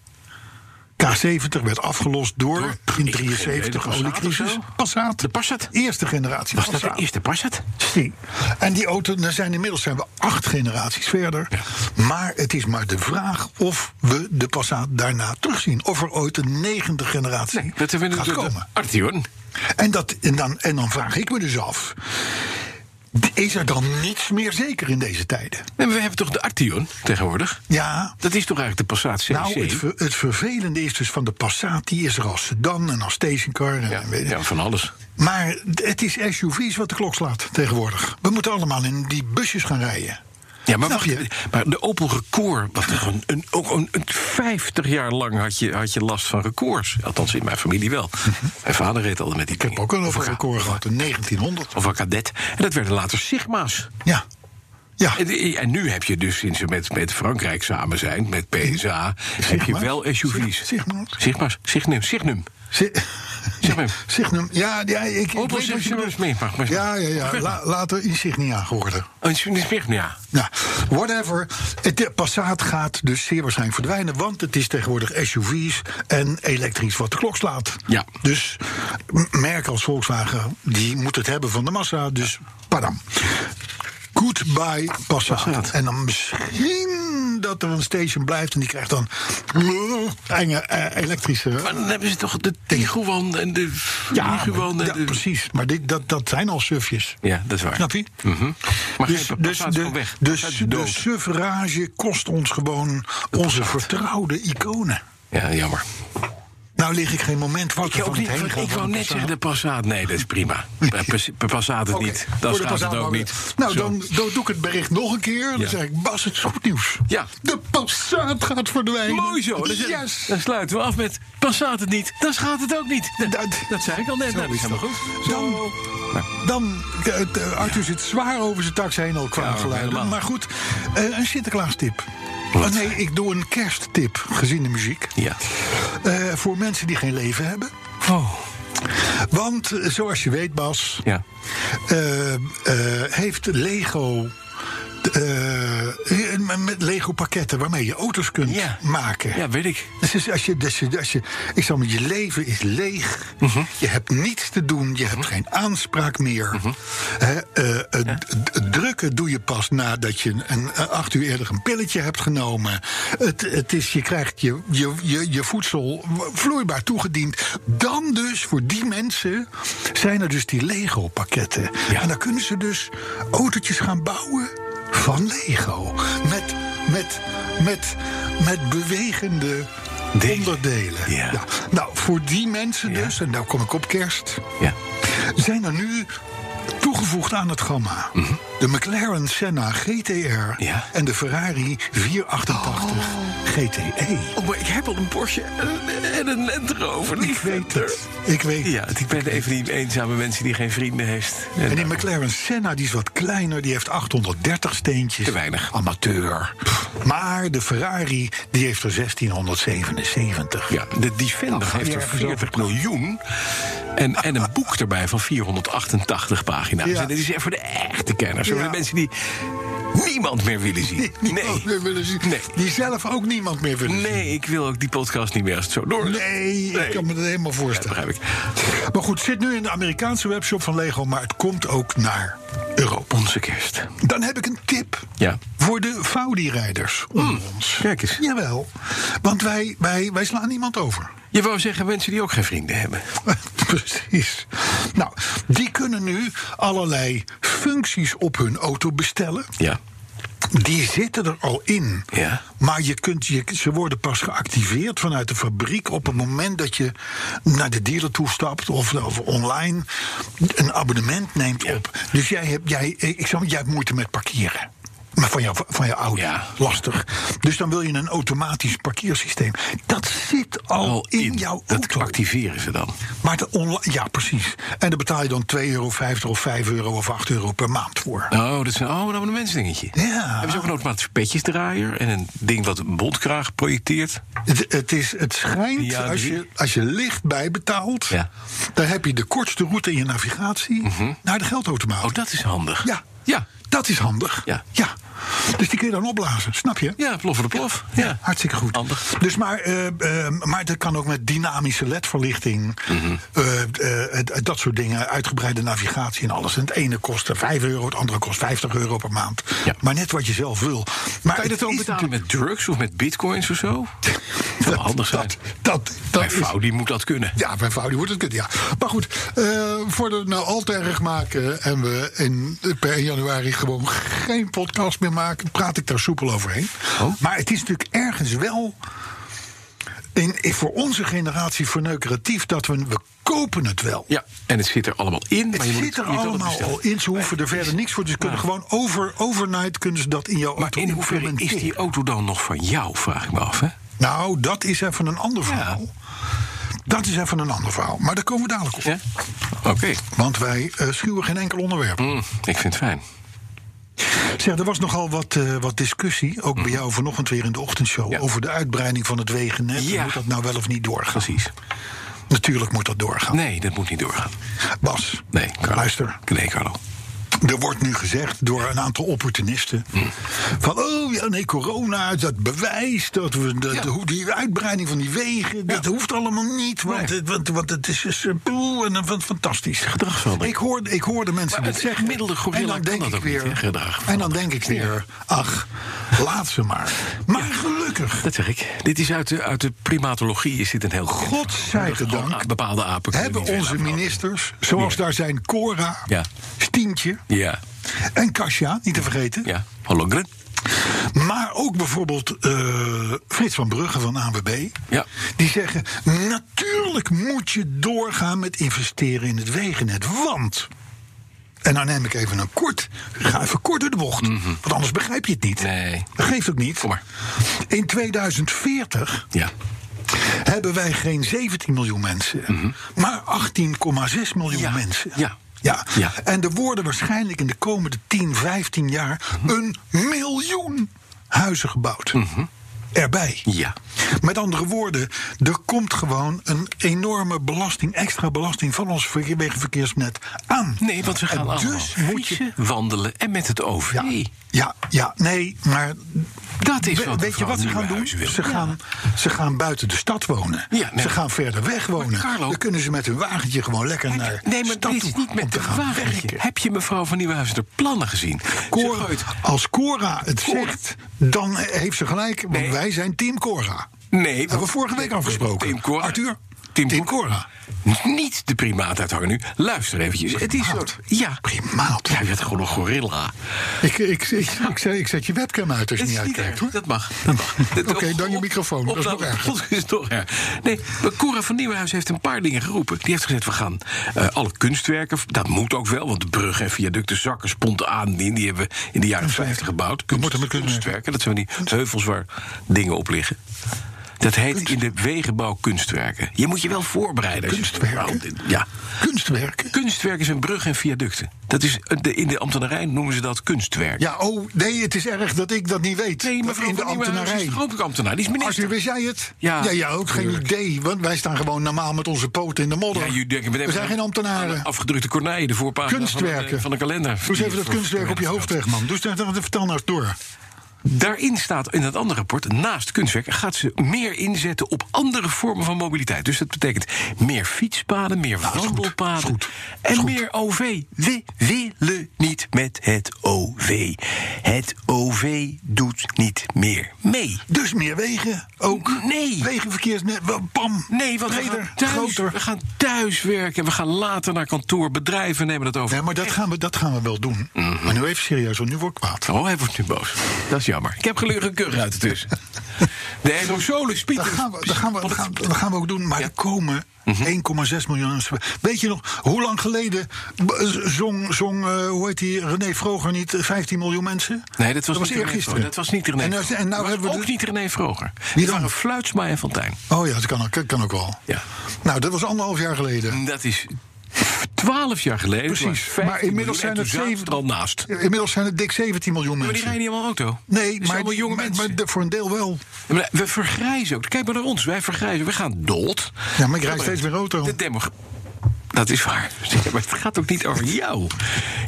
Speaker 3: K70 werd afgelost door,
Speaker 2: Door-
Speaker 3: in
Speaker 2: ik-
Speaker 3: 73
Speaker 2: geen idee, de Passat
Speaker 3: oliecrisis.
Speaker 2: of zo?
Speaker 3: Passat.
Speaker 2: De Passat?
Speaker 3: Eerste generatie
Speaker 2: Was dat de
Speaker 3: Passat.
Speaker 2: eerste Passat?
Speaker 3: Zie. En die auto, daar zijn inmiddels zijn we acht generaties verder. Maar het is maar de vraag of we de Passat daarna terugzien. Of er ooit een negende generatie
Speaker 2: Dat hebben we
Speaker 3: gaat
Speaker 2: natuurlijk.
Speaker 3: komen.
Speaker 2: Artion.
Speaker 3: En, dat, en, dan, en dan vraag ik me dus af... is er dan niets meer zeker in deze tijden?
Speaker 2: Nee, maar we hebben toch de Artion tegenwoordig?
Speaker 3: Ja,
Speaker 2: Dat is toch eigenlijk de Passat CC?
Speaker 3: Nou, het, ver- het vervelende is dus van de Passat, die is er als sedan en als stationcar. En
Speaker 2: ja,
Speaker 3: weet ik.
Speaker 2: ja, van alles.
Speaker 3: Maar het is SUV's wat de klok slaat tegenwoordig. We moeten allemaal in die busjes gaan rijden.
Speaker 2: Ja, maar,
Speaker 3: Snap
Speaker 2: wacht,
Speaker 3: je?
Speaker 2: maar de Opel Record, wat toch een, een, ook een, een 50 jaar lang had je, had je last van records. Althans, in mijn familie wel. mijn vader reed altijd met die
Speaker 3: Mhm. Ik heb ook
Speaker 2: een
Speaker 3: al over record gehad, in 1900.
Speaker 2: Of een cadet. En dat werden later Sigma's.
Speaker 3: Ja. Ja,
Speaker 2: En, en nu heb je dus, sinds ze met, met Frankrijk samen zijn, met PSA, heb je
Speaker 3: Sigma's?
Speaker 2: wel SUV's.
Speaker 3: Sig- Sigma's?
Speaker 2: Sigma's. Signum. Signum.
Speaker 3: Zi-
Speaker 2: Signum.
Speaker 3: (laughs) Signum. nou- Ja, ja ik, ik
Speaker 2: Opel
Speaker 3: weet wat je
Speaker 2: Signum
Speaker 3: bedoelt.
Speaker 2: is meer, mag maar.
Speaker 3: Ja, ja, ja. La, later Insignia geworden.
Speaker 2: Een Signum, ja.
Speaker 3: Nou, whatever. Het de Passat gaat dus zeer waarschijnlijk verdwijnen. Want het is tegenwoordig SUV's en elektrisch wat de klok slaat.
Speaker 2: Ja.
Speaker 3: Dus m- merken als Volkswagen, die moet het hebben van de massa. Dus padam. Goodbye Passat.
Speaker 2: Passat.
Speaker 3: En dan misschien dat er een station blijft... en die krijgt dan enge eh, elektrische...
Speaker 2: Maar dan hebben ze toch de Tiguan en de Tiguan en
Speaker 3: ja,
Speaker 2: eh, de...
Speaker 3: precies. Maar dit, dat, dat zijn al sufjes.
Speaker 2: Ja, dat is waar.
Speaker 3: Snap je?
Speaker 2: Mhm. Maar
Speaker 3: Dus,
Speaker 2: geen
Speaker 3: dus
Speaker 2: Passat is
Speaker 3: de,
Speaker 2: gewoon weg.
Speaker 3: de,
Speaker 2: Passat is
Speaker 3: de
Speaker 2: dood.
Speaker 3: suffrage kost ons gewoon onze vertrouwde iconen.
Speaker 2: Ja, jammer.
Speaker 3: Nou lig ik geen moment
Speaker 2: Ik,
Speaker 3: wakker
Speaker 2: ook
Speaker 3: van
Speaker 2: niet,
Speaker 3: het heen.
Speaker 2: want
Speaker 3: gaan
Speaker 2: ik
Speaker 3: van
Speaker 2: wou
Speaker 3: de
Speaker 2: net
Speaker 3: Passat.
Speaker 2: zeggen de Passaat. Nee, dat is
Speaker 3: (laughs)
Speaker 2: prima. Bij Pas- bij Passaat het
Speaker 3: Oké,
Speaker 2: niet.
Speaker 3: voor
Speaker 2: Dan
Speaker 3: de
Speaker 2: staat het
Speaker 3: Passat
Speaker 2: ook
Speaker 3: maar
Speaker 2: niet.
Speaker 3: weer. Nou,
Speaker 2: Zo.
Speaker 3: dan, dan doe ik het bericht nog een keer. Dan
Speaker 2: Ja.
Speaker 3: zeg ik, Bas, het is goed nieuws.
Speaker 2: Ja.
Speaker 3: De Passat gaat verdwijnen.
Speaker 2: Mooi zo. Dan, zet-
Speaker 3: yes.
Speaker 2: dan sluiten we af met Passaat het niet, dan gaat het ook niet. Dat,
Speaker 3: Dat-
Speaker 2: dat zei ik al net.
Speaker 3: Zo
Speaker 2: Nou, dat is
Speaker 3: is
Speaker 2: helemaal
Speaker 3: dat.
Speaker 2: goed.
Speaker 3: Dan-
Speaker 2: Zo.
Speaker 3: Dan, eh, eh, Arthur zit zwaar over zijn tax heen al qua
Speaker 2: Ja, helemaal.
Speaker 3: geluiden. Maar goed, eh, een Sinterklaas tip. nee, ik doe een kersttip, gezien de muziek.
Speaker 2: Ja.
Speaker 3: Eh, voor mensen die geen leven hebben.
Speaker 2: Oh.
Speaker 3: Want eh, zoals je weet, Bas,
Speaker 2: Ja.
Speaker 3: eh, eh, heeft Lego. eh, eh, met Lego pakketten waarmee je auto's kunt
Speaker 2: Ja.
Speaker 3: maken.
Speaker 2: ja, weet ik.
Speaker 3: Dus als je, als je, als je, als je- ik zal maar, je leven is leeg. Je hebt niets te doen. Je hebt geen aanspraak meer. Hè, eh, eh, d- d- Drukken doe je pas nadat je een, eh, acht uur eerder een pilletje hebt genomen. Het, het is, je krijgt je, je, je, je voedsel vloeibaar toegediend. Dan dus, voor die mensen, zijn er dus die Lego-pakketten. En dan kunnen ze dus autootjes gaan bouwen van Lego. Met, met, met, met bewegende
Speaker 2: Delen.
Speaker 3: onderdelen.
Speaker 2: Ja.
Speaker 3: Nou, voor die mensen dus, en nou kom ik op kerst,
Speaker 2: Ja.
Speaker 3: zijn er nu toegevoegd aan het gamma. De McLaren Senna GTR
Speaker 2: Mhm. Ja.
Speaker 3: en de Ferrari 488 GTE.
Speaker 2: Oh, maar ik heb al een Porsche en- en een Land Rover.
Speaker 3: Ik weet het. Ik weet het.
Speaker 2: Ja, ik ben een van die eenzame mensen die geen vrienden heeft. eh,
Speaker 3: En die McLaren Senna die is wat kleiner, die heeft 830 steentjes.
Speaker 2: Te weinig.
Speaker 3: Amateur. Maar de Ferrari die heeft er 1677.
Speaker 2: Ja, de Defender
Speaker 3: Nou,
Speaker 2: heeft
Speaker 3: ja,
Speaker 2: er
Speaker 3: even
Speaker 2: 40 miljoen. En, en een boek erbij van 488 pagina's.
Speaker 3: Ja.
Speaker 2: En dat is echt voor de echte kenners. Voor
Speaker 3: Ja.
Speaker 2: de mensen die niemand meer willen zien.
Speaker 3: Niemand meer willen zien.
Speaker 2: Nee.
Speaker 3: Die zelf ook niemand meer willen zien.
Speaker 2: Nee, ik wil ook die podcast niet meer als het zo door.
Speaker 3: Nee, ik kan me dat helemaal
Speaker 2: Dat
Speaker 3: voorstellen.
Speaker 2: (laughs) begrijp ik.
Speaker 3: maar goed, zit nu in de Amerikaanse webshop van Lego, maar het komt ook naar Europa.
Speaker 2: Onze kerst.
Speaker 3: Dan heb ik een tip
Speaker 2: Ja.
Speaker 3: voor de Faudi-rijders onder
Speaker 2: Hmm.
Speaker 3: ons.
Speaker 2: kijk eens.
Speaker 3: Jawel, want wij, wij, wij slaan niemand over. (laughs)
Speaker 2: Je wou zeggen mensen die ook geen vrienden hebben.
Speaker 3: Precies. Nou, die kunnen nu allerlei functies op hun auto bestellen.
Speaker 2: Ja.
Speaker 3: Die zitten er al in.
Speaker 2: Ja.
Speaker 3: Maar je kunt, je, ze worden pas geactiveerd vanuit de fabriek op het moment dat je naar de dealer toestapt of, of online een abonnement neemt op. Dus jij hebt, jij, ik zal, jij hebt moeite met parkeren. Maar van jou, van jou oud.
Speaker 2: Ja.
Speaker 3: Lastig. Dus dan wil je een automatisch parkeersysteem. Dat zit al,
Speaker 2: Al
Speaker 3: in, jouw
Speaker 2: dat
Speaker 3: auto.
Speaker 2: activeren ze dan.
Speaker 3: Maar de onla- ja, precies. En daar betaal je dan 2,50 euro of 5 euro of 8 euro per maand voor.
Speaker 2: Oh, dat is een, oh, een abonnementsdingetje.
Speaker 3: Ja.
Speaker 2: Hebben ze ook een automatisch petjesdraaier en een ding wat een bondkraag projecteert?
Speaker 3: Het, het, is, het schijnt,
Speaker 2: Ja,
Speaker 3: als,
Speaker 2: die-
Speaker 3: je, als je licht bijbetaalt...
Speaker 2: Ja. Mhm.
Speaker 3: dan heb je de kortste route in je navigatie naar de geldautomaat.
Speaker 2: Oh, dat is handig.
Speaker 3: Ja.
Speaker 2: Ja,
Speaker 3: Dat is handig.
Speaker 2: Ja.
Speaker 3: Dus die kun je dan opblazen, snap je?
Speaker 2: ja plof de plof. Ja.
Speaker 3: Hartstikke goed.
Speaker 2: Handig.
Speaker 3: Dus maar, eh, eh, maar dat kan ook met dynamische LED-verlichting.
Speaker 2: Mhm.
Speaker 3: eh, eh, d- dat soort dingen. Uitgebreide navigatie en alles. En het ene kost 5 euro, het andere kost 50 euro per maand.
Speaker 2: Ja.
Speaker 3: Maar net wat je zelf wil. Maar
Speaker 2: Kan je dat
Speaker 3: het
Speaker 2: ook
Speaker 3: is
Speaker 2: betalen met drugs of met bitcoins of zo? Dat zou handig zijn.
Speaker 3: (laughs) Dat, dat, dat
Speaker 2: Bij
Speaker 3: is-
Speaker 2: vrouw, die moet dat kunnen.
Speaker 3: Ja, bij Faudi wordt het kut, ja. Maar goed, eh voor het nou al te erg maken... en we in, per 1 januari gewoon geen podcast meer maken... praat ik daar soepel overheen.
Speaker 2: Oh.
Speaker 3: Maar het is natuurlijk ergens wel... In, in- voor onze generatie verneukeratief dat we, we kopen het wel.
Speaker 2: Ja, en het zit er allemaal in. maar
Speaker 3: Het
Speaker 2: je moet
Speaker 3: zit er
Speaker 2: je kan het
Speaker 3: allemaal
Speaker 2: bestellen.
Speaker 3: al in. Ze hoeven er verder niks voor. Dus ze kunnen gewoon over, overnight kunnen ze dat in jouw
Speaker 2: Maar
Speaker 3: auto
Speaker 2: in hoeverre is
Speaker 3: implementeren.
Speaker 2: die auto dan nog van jou, vraag ik me af. Hè?
Speaker 3: Nou, dat is even een ander verhaal. Dat is even een ander verhaal. Maar daar komen we dadelijk op.
Speaker 2: Ja? Oké,
Speaker 3: Want wij eh, schuwen geen enkel onderwerp.
Speaker 2: Hm, ik vind het fijn.
Speaker 3: Zeg, er was nogal wat, eh, wat discussie, ook bij jou vanochtend weer in de ochtendshow...
Speaker 2: Ja.
Speaker 3: over de uitbreiding van het wegennet.
Speaker 2: Ja.
Speaker 3: Moet dat nou wel of niet doorgaan?
Speaker 2: Precies.
Speaker 3: Natuurlijk moet dat doorgaan.
Speaker 2: Nee, dat moet niet doorgaan.
Speaker 3: Bas,
Speaker 2: Nee, Carlo.
Speaker 3: luister.
Speaker 2: Nee, Carlo.
Speaker 3: Er wordt nu gezegd door een aantal opportunisten... van, oh ja, nee, corona, dat bewijst dat we... Dat,
Speaker 2: Ja.
Speaker 3: hoe die uitbreiding van die wegen, dat hoeft allemaal niet... want,
Speaker 2: Nee.
Speaker 3: het, want, want het is dus, eh, boe, en dan van- fantastisch.
Speaker 2: Gedragsverandering.
Speaker 3: Ik hoorde, ik hoorde mensen
Speaker 2: Maar
Speaker 3: dit
Speaker 2: het
Speaker 3: zeggen.
Speaker 2: gemiddelde gorilla
Speaker 3: en dan
Speaker 2: kan
Speaker 3: denk
Speaker 2: dat
Speaker 3: ik
Speaker 2: ook
Speaker 3: weer,
Speaker 2: niet, hè, gedragsverandering.
Speaker 3: En dan denk ik weer, ach, laat ze maar. Maar gelukkig,
Speaker 2: Dat zeg ik. Dit is uit de, uit de primatologie is dit een heel goed.
Speaker 3: godzijdank...
Speaker 2: Bepaalde apen kunnen
Speaker 3: hebben
Speaker 2: niet
Speaker 3: onze
Speaker 2: verder.
Speaker 3: ministers, zoals daar zijn Cora,
Speaker 2: Ja.
Speaker 3: Stientje
Speaker 2: Ja,
Speaker 3: en Kasia, niet te vergeten...
Speaker 2: ja. Hollongren.
Speaker 3: Maar ook bijvoorbeeld eh, Frits van Brugge van ANWB.
Speaker 2: Ja.
Speaker 3: Die zeggen, natuurlijk moet je doorgaan met investeren in het wegennet. Want, en dan neem ik even een kort, ga even kort door de bocht. Want anders begrijp je het niet.
Speaker 2: Mhm. Nee.
Speaker 3: Dat geeft ook niet.
Speaker 2: Kom maar.
Speaker 3: In 2040
Speaker 2: Ja.
Speaker 3: hebben wij geen 17 miljoen mensen, maar 18,6 miljoen
Speaker 2: Mhm. Ja,
Speaker 3: mensen.
Speaker 2: ja.
Speaker 3: Ja.
Speaker 2: Ja.
Speaker 3: en er worden waarschijnlijk in de komende 10, 15 jaar
Speaker 2: Mhm.
Speaker 3: een miljoen huizen gebouwd. Erbij.
Speaker 2: Ja.
Speaker 3: Met andere woorden, er komt gewoon een enorme belasting, extra belasting van ons verkeer- wegenverkeersnet aan.
Speaker 2: Nee, want we gaan
Speaker 3: En
Speaker 2: allemaal
Speaker 3: dus moet je.
Speaker 2: fietsen, wandelen en met het OV.
Speaker 3: Ja, ja, ja, nee, maar
Speaker 2: Dat is
Speaker 3: We-
Speaker 2: wat
Speaker 3: weet je
Speaker 2: mevrouw
Speaker 3: wat ze gaan doen?
Speaker 2: Nieuwenhuizen
Speaker 3: Ze
Speaker 2: wil.
Speaker 3: gaan, ze gaan buiten de stad wonen.
Speaker 2: Ja, nee.
Speaker 3: Ze gaan verder weg wonen.
Speaker 2: Maar Carlo-
Speaker 3: dan kunnen ze met hun wagentje gewoon lekker naar
Speaker 2: Nee, maar
Speaker 3: stad
Speaker 2: dit is
Speaker 3: toe
Speaker 2: niet
Speaker 3: om
Speaker 2: met
Speaker 3: te
Speaker 2: de
Speaker 3: gaan
Speaker 2: wagentje.
Speaker 3: werken.
Speaker 2: Heb je mevrouw van Nieuwenhuizen de plannen gezien? Ze
Speaker 3: Cora,
Speaker 2: gooit-
Speaker 3: als Cora het
Speaker 2: Cora.
Speaker 3: zegt, dan heeft ze gelijk. Want
Speaker 2: Nee.
Speaker 3: wij zijn team Cora.
Speaker 2: Nee,
Speaker 3: Hebben we vorige week afgesproken.
Speaker 2: Team Cora.
Speaker 3: Arthur,
Speaker 2: Team,
Speaker 3: Team
Speaker 2: Cora.
Speaker 3: Cora.
Speaker 2: Niet de primaat uithangen nu. Luister eventjes. Het is zo.
Speaker 3: Primaat.
Speaker 2: Ja.
Speaker 3: Primaat.
Speaker 2: Ja, je bent gewoon een gorilla.
Speaker 3: Ik, ik, ik, ik, zei- ik zet je webcam uit als
Speaker 2: Dat
Speaker 3: je niet
Speaker 2: is niet
Speaker 3: uitkijkt,
Speaker 2: erg.
Speaker 3: hoor.
Speaker 2: Dat
Speaker 3: (laughs)
Speaker 2: mag. Dat mag. Dat-
Speaker 3: Oké, dan je
Speaker 2: op-
Speaker 3: microfoon. Dat is
Speaker 2: opname-
Speaker 3: nog
Speaker 2: (laughs)
Speaker 3: erger.
Speaker 2: Dat is toch erg. Nee, maar Cora van Nieuwenhuis heeft een paar dingen geroepen. Die heeft gezegd, we gaan eh, alle kunstwerken... dat moet ook wel, want de bruggen en viaducten zakken spont aan in. Die hebben we in de jaren 50 gebouwd. Kunst,
Speaker 3: moeten met kunstwerken.
Speaker 2: kunstwerken. Dat zijn die heuvels waar dingen op liggen. Dat heet in de wegenbouw kunstwerken. Je moet je wel voorbereiden. als je-
Speaker 3: Kunstwerken?
Speaker 2: Nou, dit- Ja.
Speaker 3: Kunstwerken.
Speaker 2: Kunstwerken zijn bruggen en viaducten. Dat is, eh, de- in de ambtenarij noemen ze dat kunstwerk.
Speaker 3: Ja, oh, nee, het is erg dat ik dat niet weet.
Speaker 2: Nee,
Speaker 3: Dat
Speaker 2: mevrouw
Speaker 3: in de
Speaker 2: van Nieuwenhuizen
Speaker 3: ambtenarij.
Speaker 2: is toch ook ambtenaar. Die is minister.
Speaker 3: Arthur, wist jij het?
Speaker 2: Ja,
Speaker 3: ja, ook geen
Speaker 2: tuurlijk.
Speaker 3: idee. Want wij staan gewoon normaal met onze poten in de modder.
Speaker 2: Ja, jullie denken,
Speaker 3: we
Speaker 2: hebben
Speaker 3: zijn geen ambtenaren.
Speaker 2: Afgedrukte kornijen, de voorpagina
Speaker 3: Kunstwerken.
Speaker 2: Van, de, van de kalender.
Speaker 3: Doe eens even dat kunstwerk op je hoofd weg, man. Dus dan, dan- dan vertel nou eens door.
Speaker 2: Daarin staat in dat andere rapport, naast kunstwerk, gaat ze meer inzetten op andere vormen van mobiliteit. Dus dat betekent meer fietspaden, meer
Speaker 3: Nou, is goed.
Speaker 2: wandelpaden
Speaker 3: Is goed.
Speaker 2: en
Speaker 3: Is goed.
Speaker 2: meer OV. We willen niet met het OV. Het OV doet niet meer mee.
Speaker 3: Dus meer wegen ook.
Speaker 2: Nee.
Speaker 3: Wegenverkeersnet, wel, bam.
Speaker 2: Nee, want we
Speaker 3: breder,
Speaker 2: gaan, thuis,
Speaker 3: groter.
Speaker 2: we gaan thuis werken en we gaan later naar kantoor. Bedrijven nemen dat over.
Speaker 3: Ja, maar dat gaan, we, dat gaan we wel doen.
Speaker 2: Mhm.
Speaker 3: Maar nu even serieus, want nu word ik kwaad. (laughs)
Speaker 2: Oh, hij wordt nu boos. Dat is jammer. Ik heb gelukkig een keur uit ertussen. De aerosole
Speaker 3: Dat
Speaker 2: spieten.
Speaker 3: gaan we, dat gaan we, dat gaan, dat gaan we ook doen. Maar er komen
Speaker 2: Mhm.
Speaker 3: 1,6 miljoen mensen bij. Weet je nog, hoe lang geleden b- z- zong, zong eh, hoe heet die, René Vroger niet eh, 15 miljoen mensen?
Speaker 2: Nee, dat was, niet René
Speaker 3: eergisteren.
Speaker 2: Vroger. Dat was niet René
Speaker 3: En, nou-
Speaker 2: Vroger.
Speaker 3: en nou
Speaker 2: Dat was
Speaker 3: hebben we
Speaker 2: ook
Speaker 3: de-
Speaker 2: niet René Vroger.
Speaker 3: Wie
Speaker 2: Die
Speaker 3: dan?
Speaker 2: waren Fluitsma en Fontijn.
Speaker 3: Oh ja, dat kan, ook- dat kan ook wel.
Speaker 2: Ja. Mm.
Speaker 3: Nou, dat was anderhalf jaar geleden.
Speaker 2: Dat is twaalf jaar geleden.
Speaker 3: Precies,
Speaker 2: Het was 15
Speaker 3: maar inmiddels
Speaker 2: miljoen en
Speaker 3: zijn het
Speaker 2: toen zaten
Speaker 3: zeven-
Speaker 2: we er al naast. Ja,
Speaker 3: Inmiddels zijn het dik 17 miljoen
Speaker 2: Maar die
Speaker 3: mensen.
Speaker 2: rijden niet allemaal auto.
Speaker 3: Nee,
Speaker 2: Dat zijn allemaal jonge
Speaker 3: maar,
Speaker 2: mensen.
Speaker 3: maar de- voor een deel wel.
Speaker 2: Ja, maar we vergrijzen ook. Kijk maar naar ons. Wij vergrijzen. We gaan dood.
Speaker 3: Ja, maar ik rijd steeds meer auto.
Speaker 2: De demo. Dat is waar. (laughs) Ja, Maar het gaat ook niet over jou.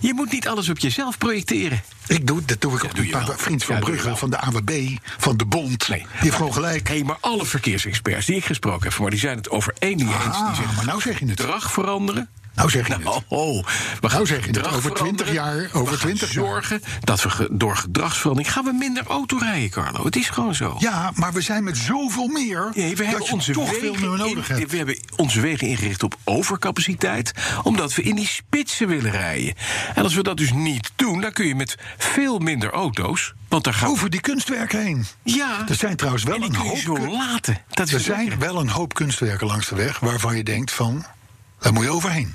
Speaker 2: Je moet niet alles op jezelf projecteren.
Speaker 3: Ik doe, dat doe ik ook
Speaker 2: doe je
Speaker 3: niet.
Speaker 2: wel.
Speaker 3: Maar vriend van
Speaker 2: Ja, doe je
Speaker 3: Brugge,
Speaker 2: wel.
Speaker 3: van de AWB, van de Bond.
Speaker 2: Nee.
Speaker 3: Die heeft gewoon gelijk.
Speaker 2: Hé, maar alle verkeersexperts die ik gesproken heb, maar die zijn het over één ding eens. Die
Speaker 3: Ah,
Speaker 2: zeggen,
Speaker 3: maar nou zeg je het.
Speaker 2: gedrag veranderen.
Speaker 3: Nou zeg je
Speaker 2: Nou,
Speaker 3: het.
Speaker 2: oh, oh, we
Speaker 3: Nou zeg je het.
Speaker 2: gedrag
Speaker 3: Over 20
Speaker 2: veranderen.
Speaker 3: jaar- over
Speaker 2: We gaan
Speaker 3: 20 jaar.
Speaker 2: zorgen dat we ge- door gedragsverandering gaan we minder auto rijden, Carlo. Het is gewoon zo.
Speaker 3: Ja, maar we zijn met zoveel meer.
Speaker 2: Nee, we
Speaker 3: dat
Speaker 2: hebben
Speaker 3: je
Speaker 2: onze
Speaker 3: toch veel meer
Speaker 2: wegen
Speaker 3: nodig
Speaker 2: in-
Speaker 3: hebt.
Speaker 2: we hebben onze wegen ingericht op overcapaciteit, omdat we in die spitsen willen rijden. En als we dat dus niet doen, dan kun je met veel minder auto's, want daar gaan
Speaker 3: Over die kunstwerken heen.
Speaker 2: ja,
Speaker 3: Er zijn trouwens wel
Speaker 2: en die
Speaker 3: een
Speaker 2: kun je
Speaker 3: hoop.
Speaker 2: zo
Speaker 3: kun-
Speaker 2: laten. Dat is dus
Speaker 3: Er
Speaker 2: het
Speaker 3: zijn
Speaker 2: lekkere.
Speaker 3: wel een hoop kunstwerken langs de weg waarvan je denkt van, daar moet je overheen.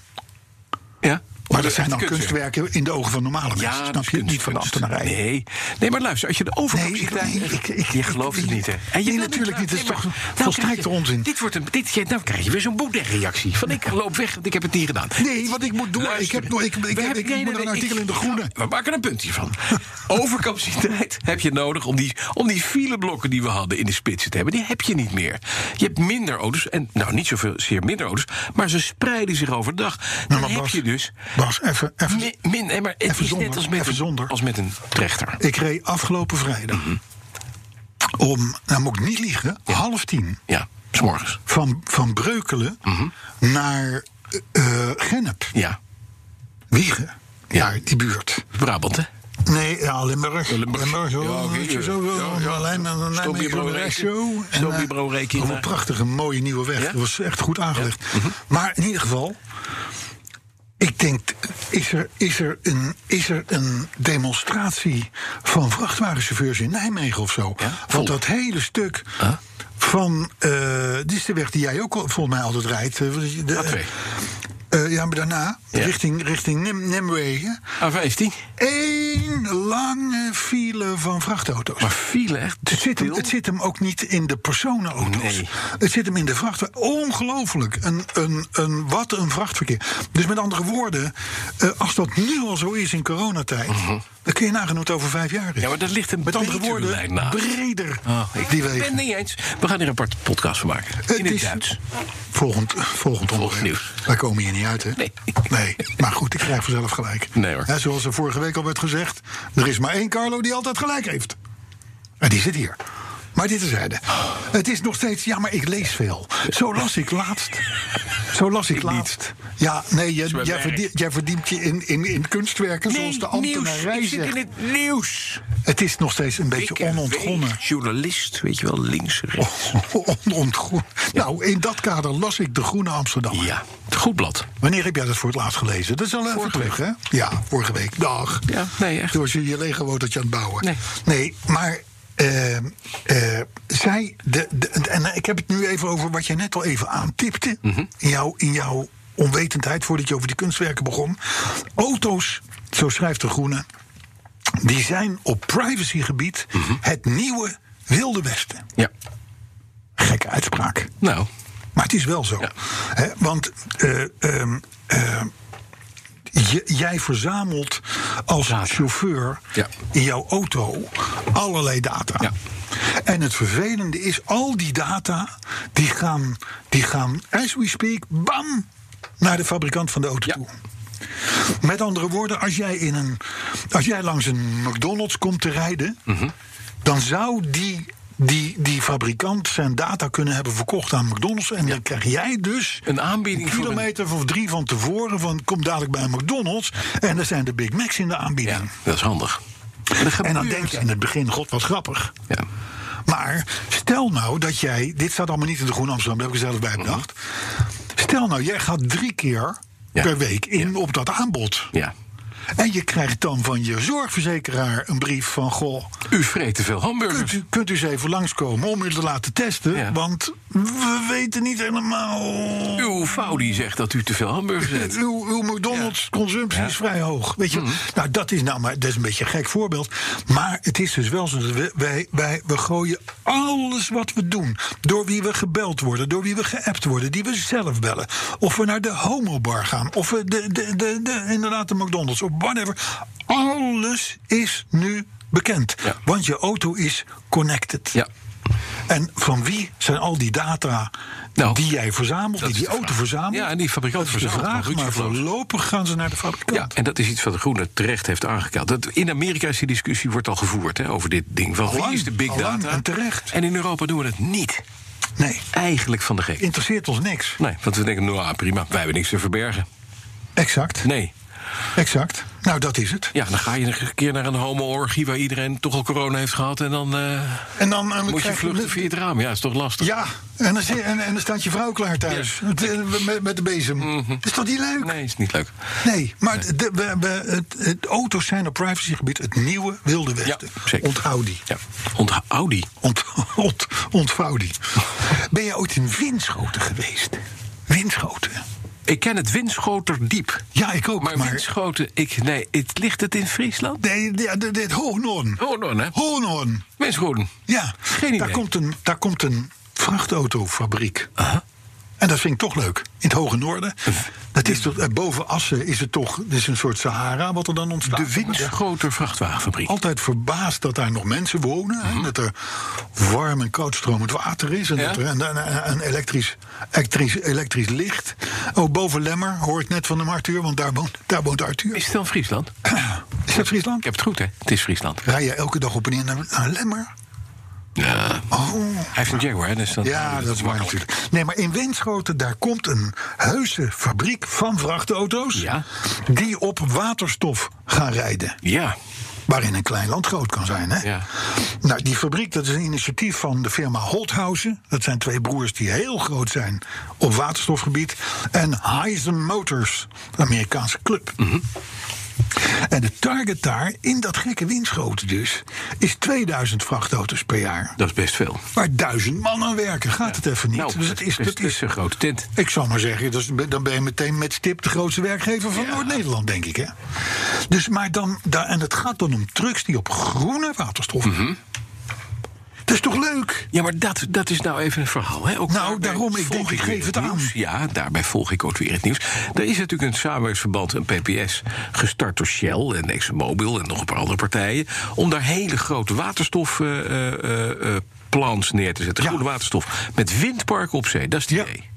Speaker 2: ja.
Speaker 3: Maar dat
Speaker 2: Omdat
Speaker 3: zijn
Speaker 2: Oh, het
Speaker 3: dan
Speaker 2: kunstwerk.
Speaker 3: kunstwerken in de ogen van normale mensen.
Speaker 2: Ja,
Speaker 3: snap je? Niet van de ambtenarij.
Speaker 2: Nee. nee, maar luister, als je de overcapaciteit...
Speaker 3: Nee, ik- ik- ik-
Speaker 2: je gelooft het
Speaker 3: ik-
Speaker 2: niet, hè?
Speaker 3: Nee,
Speaker 2: je wil
Speaker 3: natuurlijk niet. Het is
Speaker 2: Nee, maar
Speaker 3: toch
Speaker 2: nou
Speaker 3: volstrekte
Speaker 2: krijg je-
Speaker 3: onzin.
Speaker 2: Dit wordt een, dit, nou krijg je weer zo'n boeddha-reactie. Van ik loop weg, want ik heb het niet gedaan.
Speaker 3: Nee, want ik moet door. Ik heb nog- ik- ik-
Speaker 2: We
Speaker 3: ik- ik
Speaker 2: hebben-
Speaker 3: moet naar een artikel in De Groene.
Speaker 2: We maken een punt hiervan. (laughs) Overcapaciteit heb je nodig om die, om die fileblokken die we hadden in de spitsen te hebben. Die heb je niet meer. Je hebt minder auto's. En nou, niet zoveel, zeer minder auto's. Maar ze spreiden zich overdag. Dan
Speaker 3: Nou, maar
Speaker 2: heb
Speaker 3: Bas,
Speaker 2: je dus
Speaker 3: Bas, even. even.
Speaker 2: Mi- Min, nee, maar het
Speaker 3: Even
Speaker 2: is
Speaker 3: zonder,
Speaker 2: net als met,
Speaker 3: even
Speaker 2: een,
Speaker 3: zonder.
Speaker 2: als met een trechter.
Speaker 3: Ik reed afgelopen vrijdag
Speaker 2: Mhm.
Speaker 3: om, nou moet ik niet liegen, half tien.
Speaker 2: Ja, s'morgens.
Speaker 3: Van, van Breukelen naar eh, eh, Gennep,
Speaker 2: Mhm. Ja,
Speaker 3: Wiegen.
Speaker 2: Ja.
Speaker 3: Naar die buurt.
Speaker 2: Brabant, hè?
Speaker 3: Nee, ja, Limburg. Limburg. zo.
Speaker 2: Ja, oké,
Speaker 3: weet je,
Speaker 2: ja.
Speaker 3: zo,
Speaker 2: Ja, ja.
Speaker 3: Alleen maar naar
Speaker 2: Stop je
Speaker 3: Nijmegen,
Speaker 2: brood
Speaker 3: rechts
Speaker 2: rekenen.
Speaker 3: zo. En,
Speaker 2: Stop je
Speaker 3: eh,
Speaker 2: brood rekenen.
Speaker 3: oh, Een prachtige, mooie nieuwe weg.
Speaker 2: Ja? Mhm.
Speaker 3: Dat was echt goed aangelegd. Maar in ieder geval... Ik denk, is er, is, er een, is er een demonstratie van vrachtwagenchauffeurs in Nijmegen of zo?
Speaker 2: Ja? Oh.
Speaker 3: Want dat hele stuk van... eh, dit is de weg die jij ook al- volgens mij altijd rijdt. eh, wat is je- de-
Speaker 2: A2.
Speaker 3: eh, ja, maar daarna,
Speaker 2: Ja.
Speaker 3: richting, richting Nim, Nimwegen.
Speaker 2: A15.
Speaker 3: Eén lange file van vrachtauto's.
Speaker 2: Maar vielen echt
Speaker 3: Het zit, hem,
Speaker 2: stil.
Speaker 3: het zit hem ook niet in de personenauto's.
Speaker 2: Nee.
Speaker 3: Het zit hem in de vracht. Ongelooflijk. Een, een, een, wat een vrachtverkeer. Dus met andere woorden, eh, als dat nu al zo is in coronatijd... dan kun je nagenoeg het over vijf jaar is.
Speaker 2: Mhm. Ja, maar daar ligt een
Speaker 3: met andere woorden,
Speaker 2: lijn naast.
Speaker 3: breder
Speaker 2: Oh, ik
Speaker 3: Ah, die
Speaker 2: ben
Speaker 3: wegen.
Speaker 2: het niet eens. We gaan er een aparte podcast van maken.
Speaker 3: Het
Speaker 2: in het
Speaker 3: is-
Speaker 2: Duits.
Speaker 3: Volgend, volgend onderwerp.
Speaker 2: nieuws.
Speaker 3: Wij komen hier niet uit, hè?
Speaker 2: Nee.
Speaker 3: Nee. Maar goed, ik krijg vanzelf gelijk.
Speaker 2: Nee, hoor.
Speaker 3: Hè, zoals er vorige week al werd gezegd... er is maar één Carlo die altijd gelijk heeft. En die zit hier. Maar dit is zijde. Het is nog steeds... Ja, maar ik lees veel. Zo las ik laatst. Zo las ik laatst. Ja, nee, jij,
Speaker 2: mijn
Speaker 3: jij,
Speaker 2: werk.
Speaker 3: verdie- jij verdiept je in, in, in kunstwerken... zoals
Speaker 2: Nee,
Speaker 3: de
Speaker 2: nieuws.
Speaker 3: ambtenarij
Speaker 2: Ik zit in
Speaker 3: zegt.
Speaker 2: het nieuws.
Speaker 3: Het is nog steeds een beetje
Speaker 2: Dikke
Speaker 3: onontgonnen. Oh.
Speaker 2: weeg, Journalist, weet je wel, links, rechts.
Speaker 3: Onontgonnen. Nou, in dat kader las ik De Groene Amsterdammer.
Speaker 2: Ja, het goed blad.
Speaker 3: Wanneer heb jij dat voor het laatst gelezen? Dat is al even
Speaker 2: Vorige
Speaker 3: terug, hè? Ja, vorige week. Dag.
Speaker 2: Ja, nee, echt.
Speaker 3: Toen was je je lege je aan het bouwen.
Speaker 2: Nee.
Speaker 3: Nee, maar... eh, eh, zij, de, de- en ik heb het nu even over wat jij net al even aantipte.
Speaker 2: Mhm.
Speaker 3: in, jouw, in jouw onwetendheid voordat je over die kunstwerken begon. Auto's, zo schrijft de Groene, die zijn op privacygebied
Speaker 2: Mhm.
Speaker 3: het nieuwe Wilde Westen.
Speaker 2: Ja,
Speaker 3: Gekke uitspraak.
Speaker 2: nou,
Speaker 3: Maar het is wel zo.
Speaker 2: Ja.
Speaker 3: Hè, want eh, ehm, eh, j- jij verzamelt als
Speaker 2: Data.
Speaker 3: chauffeur
Speaker 2: Ja.
Speaker 3: in jouw auto allerlei data.
Speaker 2: Ja.
Speaker 3: En het vervelende is, al die data die gaan, die gaan as we speak, bam, naar de fabrikant van de auto
Speaker 2: Ja.
Speaker 3: toe. Met andere woorden, als jij, in een, als jij langs een McDonald's komt te rijden,
Speaker 2: Mhm.
Speaker 3: dan zou die, die, die fabrikant zijn data kunnen hebben verkocht aan McDonald's. En dan krijg jij dus
Speaker 2: Een aanbieding voor een-
Speaker 3: kilometer of drie van tevoren van kom dadelijk bij McDonald's. En er zijn de Big Macs in de
Speaker 2: ja,
Speaker 3: aanbieding.
Speaker 2: dat is handig. Maar dat
Speaker 3: En dan
Speaker 2: gebeurt.
Speaker 3: denk je in het begin, god wat grappig.
Speaker 2: Ja.
Speaker 3: Maar stel nou dat jij. Dit staat allemaal niet in de Groene Amsterdam, daar heb ik er zelf
Speaker 2: Mhm.
Speaker 3: bij bedacht. Stel nou, jij gaat drie keer
Speaker 2: Ja.
Speaker 3: per week in op dat aanbod.
Speaker 2: ja,
Speaker 3: En je krijgt dan van je zorgverzekeraar een brief van... goh,
Speaker 2: U vreet te veel hamburgers.
Speaker 3: kunt u, kunt u eens even langskomen om u te laten testen...
Speaker 2: Ja.
Speaker 3: want we weten niet helemaal...
Speaker 2: Uw vrouw die zegt dat u te veel hamburgers eet.
Speaker 3: Uw, uw McDonald's-consumptie is vrij hoog. Weet
Speaker 2: Mhm.
Speaker 3: je, nou, dat is nou maar dat is een beetje een gek voorbeeld. Maar het is dus wel zo dat we- wij, wij, we gooien alles wat we doen. Door wie we gebeld worden, door wie we geappt worden, die we zelf bellen. Of we naar de homobar gaan, of we de, de, de, de, inderdaad de McDonald's of whatever. Alles is nu bekend.
Speaker 2: Ja.
Speaker 3: Want je auto is connected.
Speaker 2: Ja.
Speaker 3: En van wie zijn al die data
Speaker 2: Nou,
Speaker 3: die jij verzamelt,
Speaker 2: dat
Speaker 3: die
Speaker 2: is
Speaker 3: die
Speaker 2: de
Speaker 3: auto
Speaker 2: vraag.
Speaker 3: verzamelt?
Speaker 2: Ja, en die fabrikant
Speaker 3: dat is de
Speaker 2: verzamelt,
Speaker 3: vraag,
Speaker 2: maar
Speaker 3: maar
Speaker 2: Ruud verloopt.
Speaker 3: voorlopig gaan ze naar de fabrikant.
Speaker 2: Ja, en dat is iets wat de Groene terecht heeft aangekaart. Dat, in Amerika is die discussie wordt al gevoerd hè, over dit ding. Van wie
Speaker 3: Allang,
Speaker 2: is de big
Speaker 3: allang
Speaker 2: data?
Speaker 3: en terecht.
Speaker 2: En in Europa doen we het niet.
Speaker 3: Nee,
Speaker 2: Eigenlijk van de gek.
Speaker 3: interesseert ons niks.
Speaker 2: Nee, want we denken, nou ah, prima, wij hebben niks te verbergen.
Speaker 3: Exact,
Speaker 2: Nee.
Speaker 3: exact. Nou, dat is het.
Speaker 2: Ja, dan ga je een keer naar een homo-orgie waar iedereen toch al corona heeft gehad. En dan eh,
Speaker 3: En dan eh,
Speaker 2: moet je
Speaker 3: krijg
Speaker 2: vluchten via het raam. Ja, is toch lastig?
Speaker 3: Ja, en dan, zit- en, en dan staat je vrouw klaar thuis. Met- Met, met de bezem. Is dat niet leuk?
Speaker 2: Nee, is niet leuk.
Speaker 3: Mhm. Nee, maar de, we, we, het, het- auto's zijn op privacygebied het nieuwe wilde westen.
Speaker 2: Ja, zeker.
Speaker 3: Onthoud die.
Speaker 2: Ja. Onthoud Audi.
Speaker 3: Ont, (laughs) ont, ontvouw die. Ben jij ooit in Winschoten geweest? Winschoten?
Speaker 2: Ik ken het Winschoter diep.
Speaker 3: Ja, ik ook.
Speaker 2: Maar,
Speaker 3: Maar,
Speaker 2: Winschoten, ik, nee, het, ligt het in Friesland?
Speaker 3: Nee, dit, dit Hoornhoorn.
Speaker 2: Oh, dan hè?
Speaker 3: Hoornhoorn.
Speaker 2: Winschoten.
Speaker 3: Ja,
Speaker 2: Geen idee.
Speaker 3: Daar, komt een, daar komt een vrachtautofabriek. En dat vind ik toch leuk. In het hoge noorden. Dat is toch, eh, boven Assen is het toch dit is een soort Sahara wat er dan ontstaat.
Speaker 2: De Winschoter vrachtwagenfabriek.
Speaker 3: Altijd verbaasd dat daar nog mensen wonen. hè, Dat er warm en koud stromend water is. En,
Speaker 2: Mhm. Ja.
Speaker 3: dat er, en, en- en- en elektrisch, elektrisch, elektrisch licht. Oh, boven Lemmer hoor ik net van hem Arthur. Want daar woont, daar woont Arthur.
Speaker 2: Is
Speaker 3: Is,
Speaker 2: het dan Friesland?
Speaker 3: dat Friesland?
Speaker 2: Ik heb het goed, hè? Het is Friesland.
Speaker 3: Rij je elke dag op en neer naar, naar Lemmer?
Speaker 2: Ja.
Speaker 3: Oh.
Speaker 2: Hij heeft een Jaguar, hè? Dus dat,
Speaker 3: Ja, dat is waar
Speaker 2: makkelijk.
Speaker 3: natuurlijk. Nee, maar in Winschoten, daar komt een heuse fabriek van vrachtauto's...
Speaker 2: Ja.
Speaker 3: die op waterstof gaan rijden.
Speaker 2: Ja,
Speaker 3: Waarin een klein land groot kan zijn, hè?
Speaker 2: Ja.
Speaker 3: Nou, die fabriek, dat is een initiatief van de firma Holthausen. Dat zijn twee broers die heel groot zijn op waterstofgebied. En Heisen Motors, een Amerikaanse club.
Speaker 2: Mhm.
Speaker 3: En de target daar, in dat gekke Winschoten dus... is 2000 vrachtauto's per jaar
Speaker 2: dat is best veel.
Speaker 3: waar duizend man aan werken. Gaat het even niet.
Speaker 2: Nou,
Speaker 3: dus het is,
Speaker 2: het is,
Speaker 3: dat is,
Speaker 2: een grote tent.
Speaker 3: ik zou maar zeggen, dat is- dan ben je meteen met stip de grootste werkgever van Noord-Nederland, denk ik. Hè? Dus, maar dan, daar, en het gaat dan om trucks die op groene waterstof.
Speaker 2: Mhm.
Speaker 3: Dat is toch leuk?
Speaker 2: Ja, maar dat, dat is nou even een verhaal. Hè? Ook
Speaker 3: Nou,
Speaker 2: daarbij
Speaker 3: daarom, ik
Speaker 2: volg
Speaker 3: denk, ik
Speaker 2: weer
Speaker 3: geef het aan.
Speaker 2: nieuws. Ja, daarbij volg ik ook weer het nieuws. Er is natuurlijk een samenwerkingsverband, een PPS, gestart door Shell en ExxonMobil en nog een paar andere partijen. om daar hele grote waterstof. eh, eh, eh, plans neer te zetten.
Speaker 3: Ja.
Speaker 2: Groene waterstof. Met windparken op zee. Dat is het
Speaker 3: Ja.
Speaker 2: idee.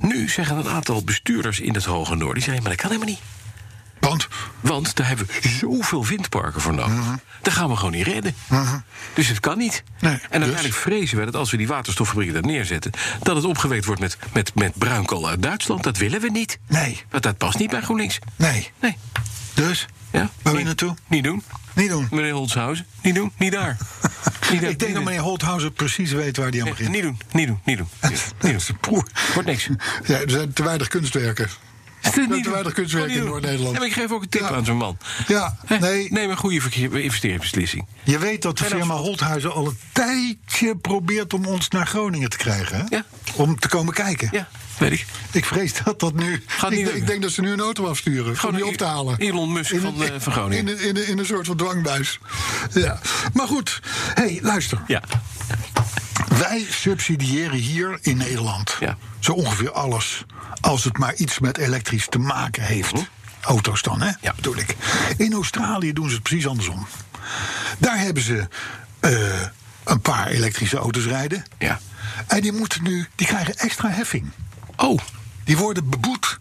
Speaker 2: Nu zeggen een aantal bestuurders in het Hoge Noorden... die zeggen, maar dat kan helemaal niet.
Speaker 3: Want
Speaker 2: Want daar hebben we zoveel windparken voor nodig. Dat gaan we gewoon niet redden. Dus het kan niet.
Speaker 3: Mhm. Nee,
Speaker 2: en uiteindelijk vrezen we dat als we die waterstoffabrieken daar neerzetten... dat het opgewekt wordt met, met, met bruinkool uit Duitsland. Dat willen we niet.
Speaker 3: Nee.
Speaker 2: Want dat past niet bij GroenLinks.
Speaker 3: nee.
Speaker 2: Nee.
Speaker 3: Dus,
Speaker 2: Ja?
Speaker 3: waar wil je
Speaker 2: Niet-
Speaker 3: naartoe?
Speaker 2: Niet doen.
Speaker 3: Niet doen.
Speaker 2: Meneer Holtshuizen. Niet doen. Niet
Speaker 3: (laughs)
Speaker 2: daar. Niet daar.
Speaker 3: Ik denk
Speaker 2: Niet
Speaker 3: dat
Speaker 2: doen.
Speaker 3: meneer Holthausen precies weet waar die aan
Speaker 2: Nee,
Speaker 3: begint.
Speaker 2: Niet doen. Niet doen. Niet doen.
Speaker 3: (laughs)
Speaker 2: Niet doen. Niet doen. Wordt niks.
Speaker 3: Ja, er zijn te weinig kunstwerken.
Speaker 2: Niet
Speaker 3: Er zijn
Speaker 2: doen.
Speaker 3: te weinig kunstwerken
Speaker 2: Niet
Speaker 3: in
Speaker 2: doen.
Speaker 3: Noord-Nederland.
Speaker 2: Ja, maar ik geef ook een tip
Speaker 3: Ja.
Speaker 2: aan zo'n man.
Speaker 3: Ja,
Speaker 2: Hè?
Speaker 3: nee.
Speaker 2: Neem een goede verkeer- investeringsbeslissing.
Speaker 3: Je weet dat de
Speaker 2: En als-
Speaker 3: firma Holthuizen al een tijdje probeert om ons naar Groningen te krijgen. Hè?
Speaker 2: Ja.
Speaker 3: Om te komen kijken.
Speaker 2: Ja, weet ik.
Speaker 3: Ik vrees dat dat nu.
Speaker 2: Gaat niet
Speaker 3: ik,
Speaker 2: lukken.
Speaker 3: ik denk dat ze nu een auto afsturen.
Speaker 2: Gewoon
Speaker 3: Gewoon die
Speaker 2: een
Speaker 3: op te halen.
Speaker 2: Elon Musk
Speaker 3: In
Speaker 2: van,
Speaker 3: een-
Speaker 2: eh, van Groningen.
Speaker 3: In, een- in, een- in een soort van dwangbuis. Ja. Maar goed, hey, luister.
Speaker 2: Ja.
Speaker 3: Wij subsidiëren hier in Nederland
Speaker 2: Ja.
Speaker 3: zo ongeveer alles. Als het maar iets met elektrisch te maken heeft. Auto's dan, hè?
Speaker 2: Mhm. Ja.
Speaker 3: bedoel ik. In Australië doen ze het precies andersom. Daar hebben ze eh, een paar elektrische auto's rijden.
Speaker 2: Ja.
Speaker 3: En die moeten nu, die krijgen extra heffing.
Speaker 2: Oh,
Speaker 3: Die worden beboet.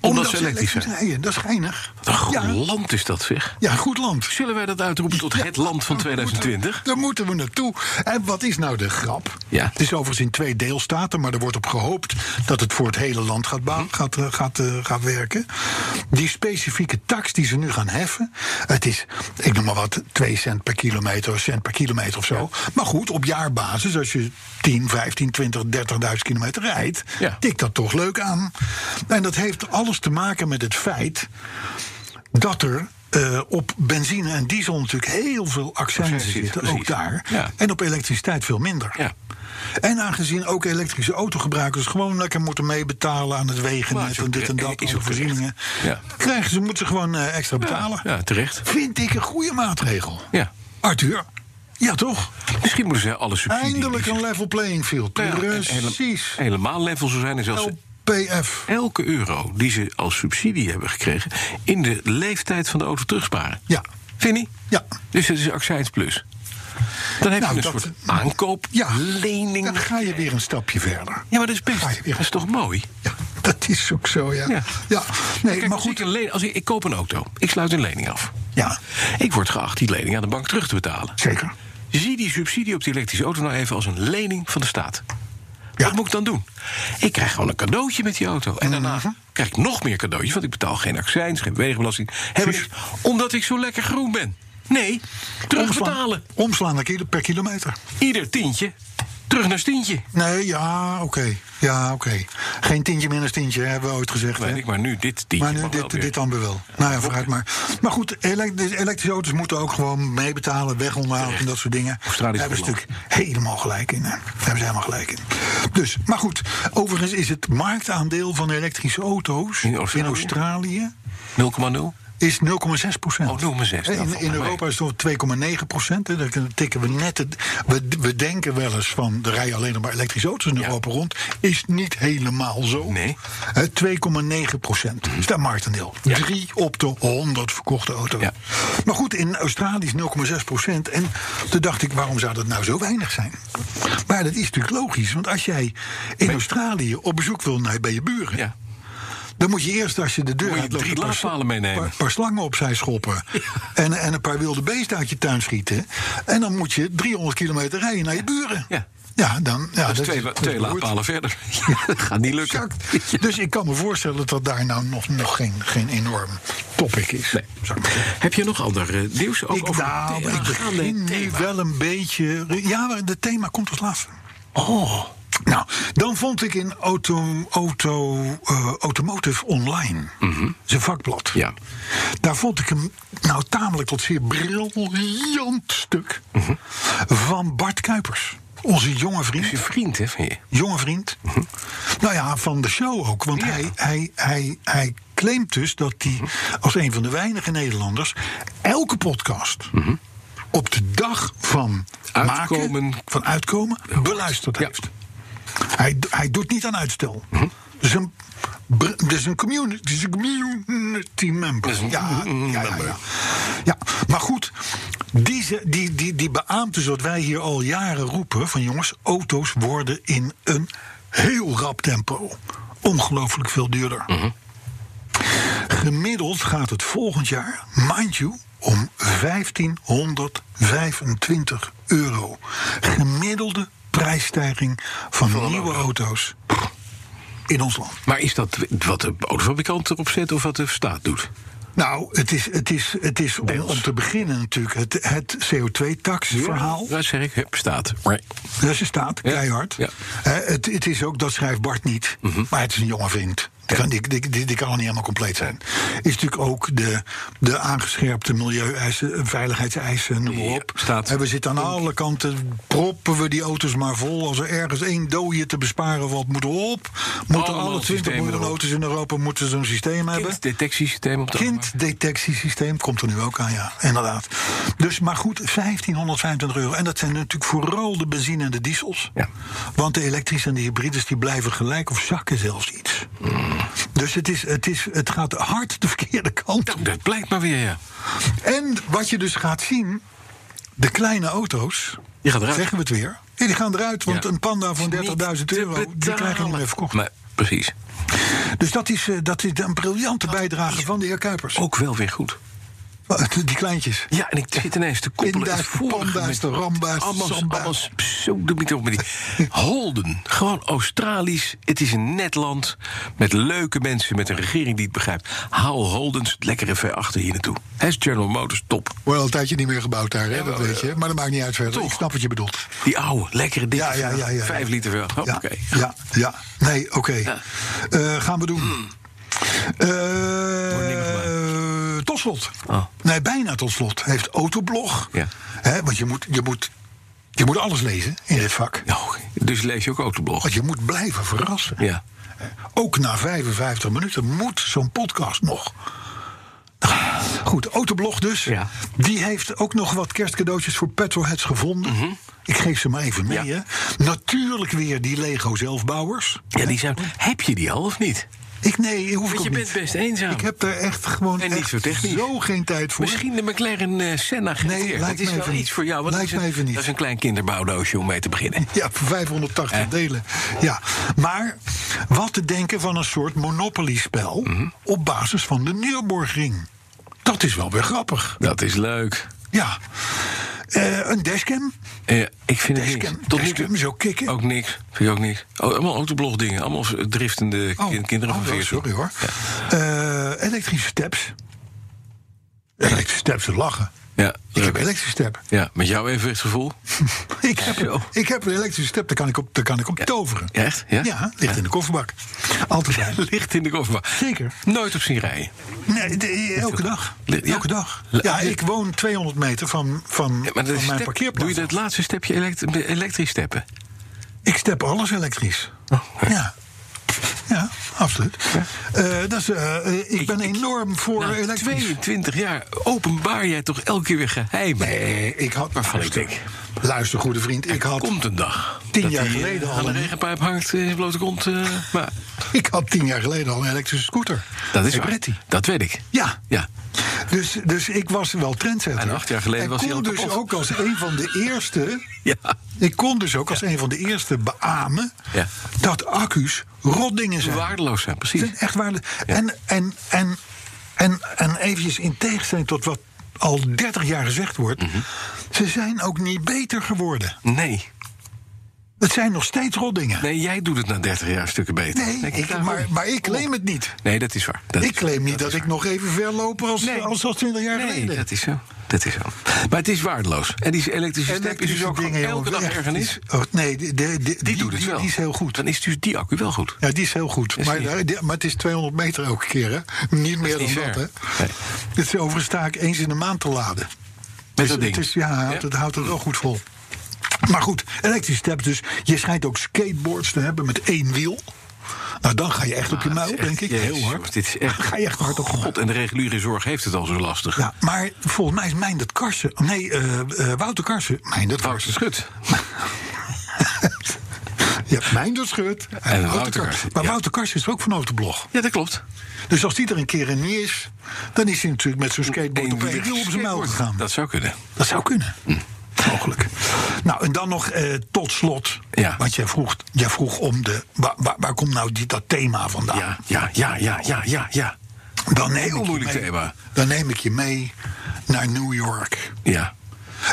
Speaker 2: omdat ze elektrisch zijn.
Speaker 3: rijden. Dat is geinig.
Speaker 2: Wat een goed
Speaker 3: ja,
Speaker 2: land is dat, zeg.
Speaker 3: ja, goed land.
Speaker 2: Zullen wij dat uitroepen tot het land van 2020?
Speaker 3: Daar moeten we naartoe. En wat is nou de grap?
Speaker 2: Ja.
Speaker 3: Het is overigens in twee deelstaten, maar er wordt op gehoopt dat het voor het hele land gaat, bou- gaat, eh, gaat, eh, gaat werken. Die specifieke tax die ze nu gaan heffen, het is, ik noem maar wat, 2 cent per kilometer, een cent per kilometer of zo. Maar goed, op jaarbasis, als je 10, 15, 20, 30.000 kilometer rijdt,
Speaker 2: Ja.
Speaker 3: tikt dat toch leuk aan. En dat heeft alles te maken met het feit dat er eh, op benzine en diesel natuurlijk heel veel accijnzen
Speaker 2: Accijnzen,
Speaker 3: zitten,
Speaker 2: precies.
Speaker 3: ook daar.
Speaker 2: Ja.
Speaker 3: En op elektriciteit veel minder.
Speaker 2: Ja.
Speaker 3: En aangezien ook elektrische autogebruikers gewoon lekker moeten meebetalen aan het
Speaker 2: Maar
Speaker 3: wegennet
Speaker 2: is ook
Speaker 3: en dit en
Speaker 2: terecht.
Speaker 3: dat,
Speaker 2: Is
Speaker 3: aan
Speaker 2: ook
Speaker 3: de voorzieningen,
Speaker 2: terecht.
Speaker 3: krijgen ze, moeten ze gewoon eh, extra betalen.
Speaker 2: Ja, terecht.
Speaker 3: Vind ik een goede maatregel.
Speaker 2: Ja.
Speaker 3: Arthur, ja toch?
Speaker 2: Misschien moeten ze alle subsidies...
Speaker 3: Eindelijk een level playing field.
Speaker 2: Nou ja, en hele-
Speaker 3: Precies. Nou.
Speaker 2: helemaal level zo zijn en zelfs...
Speaker 3: LPF.
Speaker 2: elke euro die ze als subsidie hebben gekregen... in de leeftijd van de auto terugsparen.
Speaker 3: Ja.
Speaker 2: Vind je niet?
Speaker 3: Ja.
Speaker 2: Dus dat is accijns plus. Dan heb
Speaker 3: Nou,
Speaker 2: je een
Speaker 3: dat-
Speaker 2: soort aankoop,
Speaker 3: Ja,
Speaker 2: lening.
Speaker 3: Dan ga je weer een stapje verder.
Speaker 2: Ja, maar dat is best.
Speaker 3: Ga je weer-
Speaker 2: Dat is toch mooi?
Speaker 3: Ja, dat is ook zo, ja.
Speaker 2: Ja.
Speaker 3: Ja, nee,
Speaker 2: Kijk,
Speaker 3: maar
Speaker 2: als ik,
Speaker 3: goed.
Speaker 2: een leen- als ik, ik koop een auto, ik sluit een lening af.
Speaker 3: Ja,
Speaker 2: Ik word geacht die lening aan de bank terug te betalen.
Speaker 3: zeker.
Speaker 2: Zie die subsidie op die elektrische auto nou even als een lening van de staat.
Speaker 3: Ja.
Speaker 2: Wat moet ik dan doen? Ik krijg gewoon een cadeautje met die auto. En daarna
Speaker 3: Mhm.
Speaker 2: krijg ik nog meer cadeautjes, want ik betaal geen accijns, geen wegenbelasting. Heb ik, omdat ik zo lekker groen ben. Nee, terugbetalen.
Speaker 3: Omslaan, omslaan naar kilo- per kilometer.
Speaker 2: Ieder tientje, terug naar tientje.
Speaker 3: Nee, ja, oké. Ja, oké. Geen tientje minder tientje, hebben we ooit gezegd.
Speaker 2: Weet
Speaker 3: hè?
Speaker 2: ik, maar nu dit tientje.
Speaker 3: Maar nu,
Speaker 2: mag wel
Speaker 3: dit,
Speaker 2: weer.
Speaker 3: dit dan weer wel. Nou ja, vooruit maar. Maar goed, elek- de elektrische auto's moeten ook gewoon meebetalen, wegonderhoud en dat soort dingen.
Speaker 2: Australisch
Speaker 3: Daar hebben ze
Speaker 2: verland.
Speaker 3: natuurlijk helemaal gelijk in. hè. Daar hebben ze helemaal gelijk in. Dus, maar goed, overigens is het marktaandeel van elektrische auto's
Speaker 2: In
Speaker 3: in
Speaker 2: Australië?
Speaker 3: Australië, is 0,6 procent.
Speaker 2: 0,6, nou,
Speaker 3: In,
Speaker 2: valt
Speaker 3: in
Speaker 2: mij
Speaker 3: Europa is het nog 2,9 procent. hè. Dan tikken we net het. We, we denken wel eens van er rijden alleen nog maar elektrische auto's in
Speaker 2: Ja.
Speaker 3: Europa rond. Is niet helemaal zo.
Speaker 2: Nee. Mhm.
Speaker 3: Hè, 2,9 procent is dat marktendeel.
Speaker 2: Ja.
Speaker 3: Drie op de 100 verkochte auto's.
Speaker 2: Ja.
Speaker 3: Maar goed, in Australië is 0,6 procent. En toen dacht ik, waarom zou dat nou zo weinig zijn? Maar dat is natuurlijk logisch. Want als jij in Australië op bezoek wil naar, bij je buren.
Speaker 2: Ja.
Speaker 3: Dan moet je eerst, als je de deur
Speaker 2: moet je
Speaker 3: uitloopt,
Speaker 2: drie
Speaker 3: een paar
Speaker 2: laadpalen
Speaker 3: sla-
Speaker 2: meenemen.
Speaker 3: Paar, paar slangen
Speaker 2: (laughs)
Speaker 3: opzij schoppen. En, en een paar wilde beesten uit je tuin schieten. En dan moet je 300 kilometer rijden naar je buren.
Speaker 2: Ja.
Speaker 3: Ja, dan, ja
Speaker 2: Dat is Dus twee,
Speaker 3: Ah, dat
Speaker 2: twee
Speaker 3: behoort-
Speaker 2: laadpalen verder. (laughs) dat gaat niet lukken. (laughs)
Speaker 3: Exact. Dus ik kan me voorstellen dat daar nou nog, nog geen, geen enorm topic is.
Speaker 2: Nee.
Speaker 3: Zou ik maar zeggen.
Speaker 2: Heb je nog ander eh, nieuws? Ook
Speaker 3: Ik,
Speaker 2: over
Speaker 3: nou,
Speaker 2: het
Speaker 3: ik
Speaker 2: aangaande
Speaker 3: begin nu
Speaker 2: thema?
Speaker 3: wel een beetje... Ja, maar het thema komt als laatste. Oh. Nou, dan vond ik in auto, auto, eh, Automotive Online, zijn vakblad.
Speaker 2: Ja.
Speaker 3: Daar vond ik een nou tamelijk tot zeer briljant stuk van Bart Kuipers. Onze jonge vriend.
Speaker 2: Je vriend, hè, van je?
Speaker 3: Jonge vriend. Nou ja, van de show ook. Want hij, hij, hij, hij claimt dus dat hij als een van de weinige Nederlanders elke podcast op de dag van
Speaker 2: Uitkomen.
Speaker 3: maken, van uitkomen beluisterd
Speaker 2: Ja. Mhm.
Speaker 3: heeft. Hij, hij doet niet aan uitstel. Dus een, br- dus een community, dus een community member.
Speaker 2: Dus een
Speaker 3: ja, ja, ja,
Speaker 2: member.
Speaker 3: ja. ja, maar goed. Die, ze- die, die, die beaamt dus wat wij hier al jaren roepen: van jongens, auto's worden in een heel rap tempo ongelooflijk veel duurder. Gemiddeld gaat het volgend jaar, mind you, om 1525 euro. Gemiddelde prijsstijging van nieuwe auto's in ons land.
Speaker 2: Maar is dat wat de autofabrikant erop zet of wat de staat doet?
Speaker 3: Nou, het is, het is, het is om, om te beginnen natuurlijk het, het CO2-tax-verhaal.
Speaker 2: Dat zeg ik, hup, staat. Maar
Speaker 3: Dat is een staat, keihard.
Speaker 2: ja. Mhm.
Speaker 3: Hè, het, het is ook, dat schrijft Bart niet, maar het is een jonge vriend. Die kan, die, die, die, die kan al niet helemaal compleet zijn. Is natuurlijk ook de, de aangescherpte milieueisen, veiligheidseisen, noem maar
Speaker 2: Ja,
Speaker 3: op.
Speaker 2: staat.
Speaker 3: En we zitten aan alle kanten, proppen we die auto's maar vol. Als er ergens één dode te besparen valt, moet op. Moeten
Speaker 2: Allemaal
Speaker 3: alle 20
Speaker 2: systemen
Speaker 3: miljoen
Speaker 2: erop.
Speaker 3: auto's in Europa moeten zo'n systeem hebben.
Speaker 2: het detectiesysteem op de
Speaker 3: Kinddetectiesysteem komt er nu ook aan, ja, inderdaad. Dus maar goed, 1525 euro. En dat zijn natuurlijk vooral de benzine en de diesels.
Speaker 2: Ja.
Speaker 3: Want de elektrische en de hybrides die blijven gelijk of zakken zelfs iets. Dus het, is, het, is, het gaat hard de verkeerde kant op.
Speaker 2: Dat blijkt maar weer, ja.
Speaker 3: En wat je dus gaat zien, de kleine auto's,
Speaker 2: Die gaan eruit.
Speaker 3: zeggen we het weer. Ja, die gaan eruit, want
Speaker 2: Ja.
Speaker 3: een panda van 30.000
Speaker 2: Niet te
Speaker 3: euro, die krijg je niet
Speaker 2: betalen.
Speaker 3: meer verkocht.
Speaker 2: Maar, precies.
Speaker 3: Dus dat is, eh, dat is een briljante bijdrage van de heer Kuipers.
Speaker 2: Ook wel weer goed.
Speaker 3: (laughs) Die kleintjes.
Speaker 2: Ja, en ik zit ineens te koppelen.
Speaker 3: Pinda's,
Speaker 2: het vorige
Speaker 3: panda's,
Speaker 2: met
Speaker 3: de ramba's,
Speaker 2: allemaal-
Speaker 3: samba's.
Speaker 2: Allemaal pseudomieten op met die. Holden, gewoon Australisch. Het is een net land met leuke mensen, met een regering die het begrijpt. Haal Holdens, het lekkere ver achter hier naartoe. Hij is General Motors, top.
Speaker 3: Wordt al een tijdje niet meer gebouwd daar, hè? dat
Speaker 2: maar,
Speaker 3: weet je. Maar dat maakt niet uit verder.
Speaker 2: toch.
Speaker 3: Ik snap wat je bedoelt.
Speaker 2: Die oude, lekkere dikke
Speaker 3: Ja, ja, ja, ja, ja.
Speaker 2: Vijf liter ver.
Speaker 3: Ja,
Speaker 2: Hoppakee.
Speaker 3: ja, ja. Nee, oké.
Speaker 2: Ja. Hmm.
Speaker 3: Eh, gaan we doen. Eh,
Speaker 2: niemand
Speaker 3: eh, tot slot.
Speaker 2: Oh.
Speaker 3: Nee, bijna tot slot. Heeft Autoblog.
Speaker 2: Ja.
Speaker 3: Hè, want je moet, je, moet, je moet alles lezen in dit vak.
Speaker 2: Nou, dus lees je ook Autoblog.
Speaker 3: Want je moet blijven verrassen.
Speaker 2: Ja.
Speaker 3: Ook na 55 minuten moet zo'n podcast nog. Nou, Goed, Autoblog dus.
Speaker 2: Ja.
Speaker 3: Die heeft ook nog wat kerstcadeautjes voor petrolheads gevonden. Ik geef ze maar even mee.
Speaker 2: Mhm. Ja.
Speaker 3: Hè. Natuurlijk weer die Lego zelfbouwers.
Speaker 2: ja, die zijn. Heb je die al of niet?
Speaker 3: Ik nee, hoef ik
Speaker 2: Want
Speaker 3: ook
Speaker 2: je bent
Speaker 3: niet.
Speaker 2: best eenzaam.
Speaker 3: Ik heb daar echt gewoon
Speaker 2: En niet
Speaker 3: echt
Speaker 2: zo technisch.
Speaker 3: geen tijd voor.
Speaker 2: Misschien de McLaren eh, Senna GT.
Speaker 3: Nee, lijkt
Speaker 2: dat is
Speaker 3: mij
Speaker 2: wel
Speaker 3: even niet.
Speaker 2: iets voor jou. Want
Speaker 3: Lijkt
Speaker 2: dat, is
Speaker 3: mij
Speaker 2: een,
Speaker 3: even niet.
Speaker 2: dat is een klein kinderbouwdoosje om mee te beginnen.
Speaker 3: Ja, voor 580
Speaker 2: Eh.
Speaker 3: delen. Ja. Maar wat te denken van een soort Monopoly-spel
Speaker 2: Mhm.
Speaker 3: op basis van de Nürburgring? Dat is wel weer grappig.
Speaker 2: Dat is leuk.
Speaker 3: Ja. Eh, een dashcam?
Speaker 2: Eh, ik vind het
Speaker 3: Dashcam.
Speaker 2: niks. Tot nu
Speaker 3: Dashcam
Speaker 2: toe Oh,
Speaker 3: is ook kicken.
Speaker 2: Ook niks. Vind ik ook niks. Oh, allemaal autoblog dingen. Allemaal driftende
Speaker 3: Oh,
Speaker 2: kin- kinderen van
Speaker 3: oh,
Speaker 2: 14.
Speaker 3: Sorry hoor.
Speaker 2: Ja.
Speaker 3: Eh, elektrische steps. Elektrische steps, ze lachen.
Speaker 2: Ja,
Speaker 3: Ik heb
Speaker 2: leuk.
Speaker 3: elektrische step. (laughs)
Speaker 2: ja, met jouw evenwichtsgevoel.
Speaker 3: ik, heb,
Speaker 2: Zo.
Speaker 3: ik heb een elektrische step, daar kan ik op, daar kan ik op toveren.
Speaker 2: Ja, echt? Ja?
Speaker 3: ligt in de kofferbak. Altijd bij.
Speaker 2: Licht in de kofferbak.
Speaker 3: Zeker.
Speaker 2: Nooit op zien rijden.
Speaker 3: Nee, de- elke dag.
Speaker 2: Ja.
Speaker 3: Elke dag.
Speaker 2: Le-
Speaker 3: Ja, ik woon 200 meter van, van,
Speaker 2: Ja, maar dat
Speaker 3: van
Speaker 2: is
Speaker 3: mijn
Speaker 2: step- doe je
Speaker 3: parkeerplaats.
Speaker 2: dat laatste stepje elekt- met elektrisch steppen?
Speaker 3: Ik step alles elektrisch. Oh. Ja. Ja, absoluut. Eh, dat is, eh, eh, ik ben enorm voor
Speaker 2: Na
Speaker 3: elektrisch.
Speaker 2: 22 jaar openbaar jij toch elke keer weer geheimen.
Speaker 3: Nee, Eh, ik had...
Speaker 2: Waarvan ik denk,
Speaker 3: Luister, goede vriend, ik had...
Speaker 2: komt een dag.
Speaker 3: Tien
Speaker 2: dat
Speaker 3: jaar
Speaker 2: die, eh,
Speaker 3: geleden al
Speaker 2: Aan de
Speaker 3: een-
Speaker 2: regenpijp hangt eh, in zijn blote kont.
Speaker 3: (laughs)
Speaker 2: eh, maar
Speaker 3: Ik had tien jaar geleden al een elektrische scooter.
Speaker 2: dat is
Speaker 3: Een
Speaker 2: waar.
Speaker 3: Bretti.
Speaker 2: Dat weet ik.
Speaker 3: Ja.
Speaker 2: Ja.
Speaker 3: Dus, dus ik was wel trendsetter.
Speaker 2: En acht jaar geleden
Speaker 3: En
Speaker 2: was hij
Speaker 3: kon
Speaker 2: al
Speaker 3: dus
Speaker 2: kapot.
Speaker 3: ook als een van de eerste...
Speaker 2: (laughs) Ja.
Speaker 3: Ik kon dus ook als een van de eerste beamen...
Speaker 2: Ja.
Speaker 3: dat accu's rotdingen zijn.
Speaker 2: Waardeloos zijn,
Speaker 3: Het
Speaker 2: precies.
Speaker 3: zijn echt waarde. En, en, en, en, en eventjes in tegenstelling tot wat al 30 jaar gezegd wordt...
Speaker 2: Mhm.
Speaker 3: ze zijn ook niet beter geworden.
Speaker 2: Nee.
Speaker 3: Het zijn nog steeds rotdingen.
Speaker 2: Nee, jij doet het na 30 jaar stukken beter.
Speaker 3: Nee,
Speaker 2: Denk
Speaker 3: ik-
Speaker 2: daarom.
Speaker 3: maar, maar ik claim het niet.
Speaker 2: Nee, dat is waar. Oh. Dat
Speaker 3: Ik
Speaker 2: is-
Speaker 3: claim niet dat ik nog even ver loop als,
Speaker 2: Nee.
Speaker 3: als, als 20 jaar
Speaker 2: Nee,
Speaker 3: geleden.
Speaker 2: dat is zo. Dat is zo. Maar het is waardeloos. En die elektrische step is dus ook gewoon elke dag
Speaker 3: jongen,
Speaker 2: ergernis.
Speaker 3: echt, die is- oh, nee, de, de, de- die,
Speaker 2: Die, doet het
Speaker 3: die,
Speaker 2: wel.
Speaker 3: die is heel goed.
Speaker 2: Dan is dus die accu wel goed.
Speaker 3: Ja, die is heel goed.
Speaker 2: Is
Speaker 3: maar,
Speaker 2: die-
Speaker 3: daar- die- maar het is 200 meter elke keer, hè? Niet meer
Speaker 2: niet
Speaker 3: dan dat,
Speaker 2: ver.
Speaker 3: hè? Dus
Speaker 2: Nee.
Speaker 3: Dit is overigens taak eens in de maand te laden.
Speaker 2: Met
Speaker 3: Dus
Speaker 2: dat ding.
Speaker 3: Het is, ja, het- het houdt het wel goed vol. Maar goed, elektrische steps dus. Je schijnt ook skateboards te hebben met één wiel. Nou, dan ga je echt op
Speaker 2: Ah,
Speaker 3: je muil, denk ik.
Speaker 2: Jezus,
Speaker 3: Heel hard.
Speaker 2: jongens, dit is echt...
Speaker 3: Ga je echt hard op je muil.
Speaker 2: God, en de reguliere zorg heeft het al zo lastig.
Speaker 3: Ja, maar volgens mij is Meindert Karsen... Nee, eh eh Wouter Karsen... Meindert
Speaker 2: Wouter
Speaker 3: Karsen.
Speaker 2: Schut.
Speaker 3: Je hebt Meindert Schut en, Wouter,
Speaker 2: Eh, Wouter
Speaker 3: Karsen.
Speaker 2: Karsen,
Speaker 3: Maar
Speaker 2: ja.
Speaker 3: Wouter Karsen is er ook van Autoblog.
Speaker 2: Ja, dat klopt.
Speaker 3: Dus als die er een keer in niet is... dan is hij natuurlijk met zo'n skateboard op één
Speaker 2: wielig
Speaker 3: wiel op zijn muil
Speaker 2: skateboard.
Speaker 3: gegaan.
Speaker 2: Dat zou kunnen.
Speaker 3: Dat zou kunnen.
Speaker 2: Hm,
Speaker 3: Mogelijk. Nou, en dan nog eh, tot slot.
Speaker 2: Ja.
Speaker 3: Want jij vroeg, jij vroeg om de. Waar, waar, waar komt nou dit, dat thema vandaan?
Speaker 2: Ja, ja, ja, ja, ja, ja, ja.
Speaker 3: Dan neem ik
Speaker 2: Heel
Speaker 3: je
Speaker 2: moeilijk
Speaker 3: mee-
Speaker 2: thema.
Speaker 3: Dan neem ik je mee naar New York.
Speaker 2: Ja.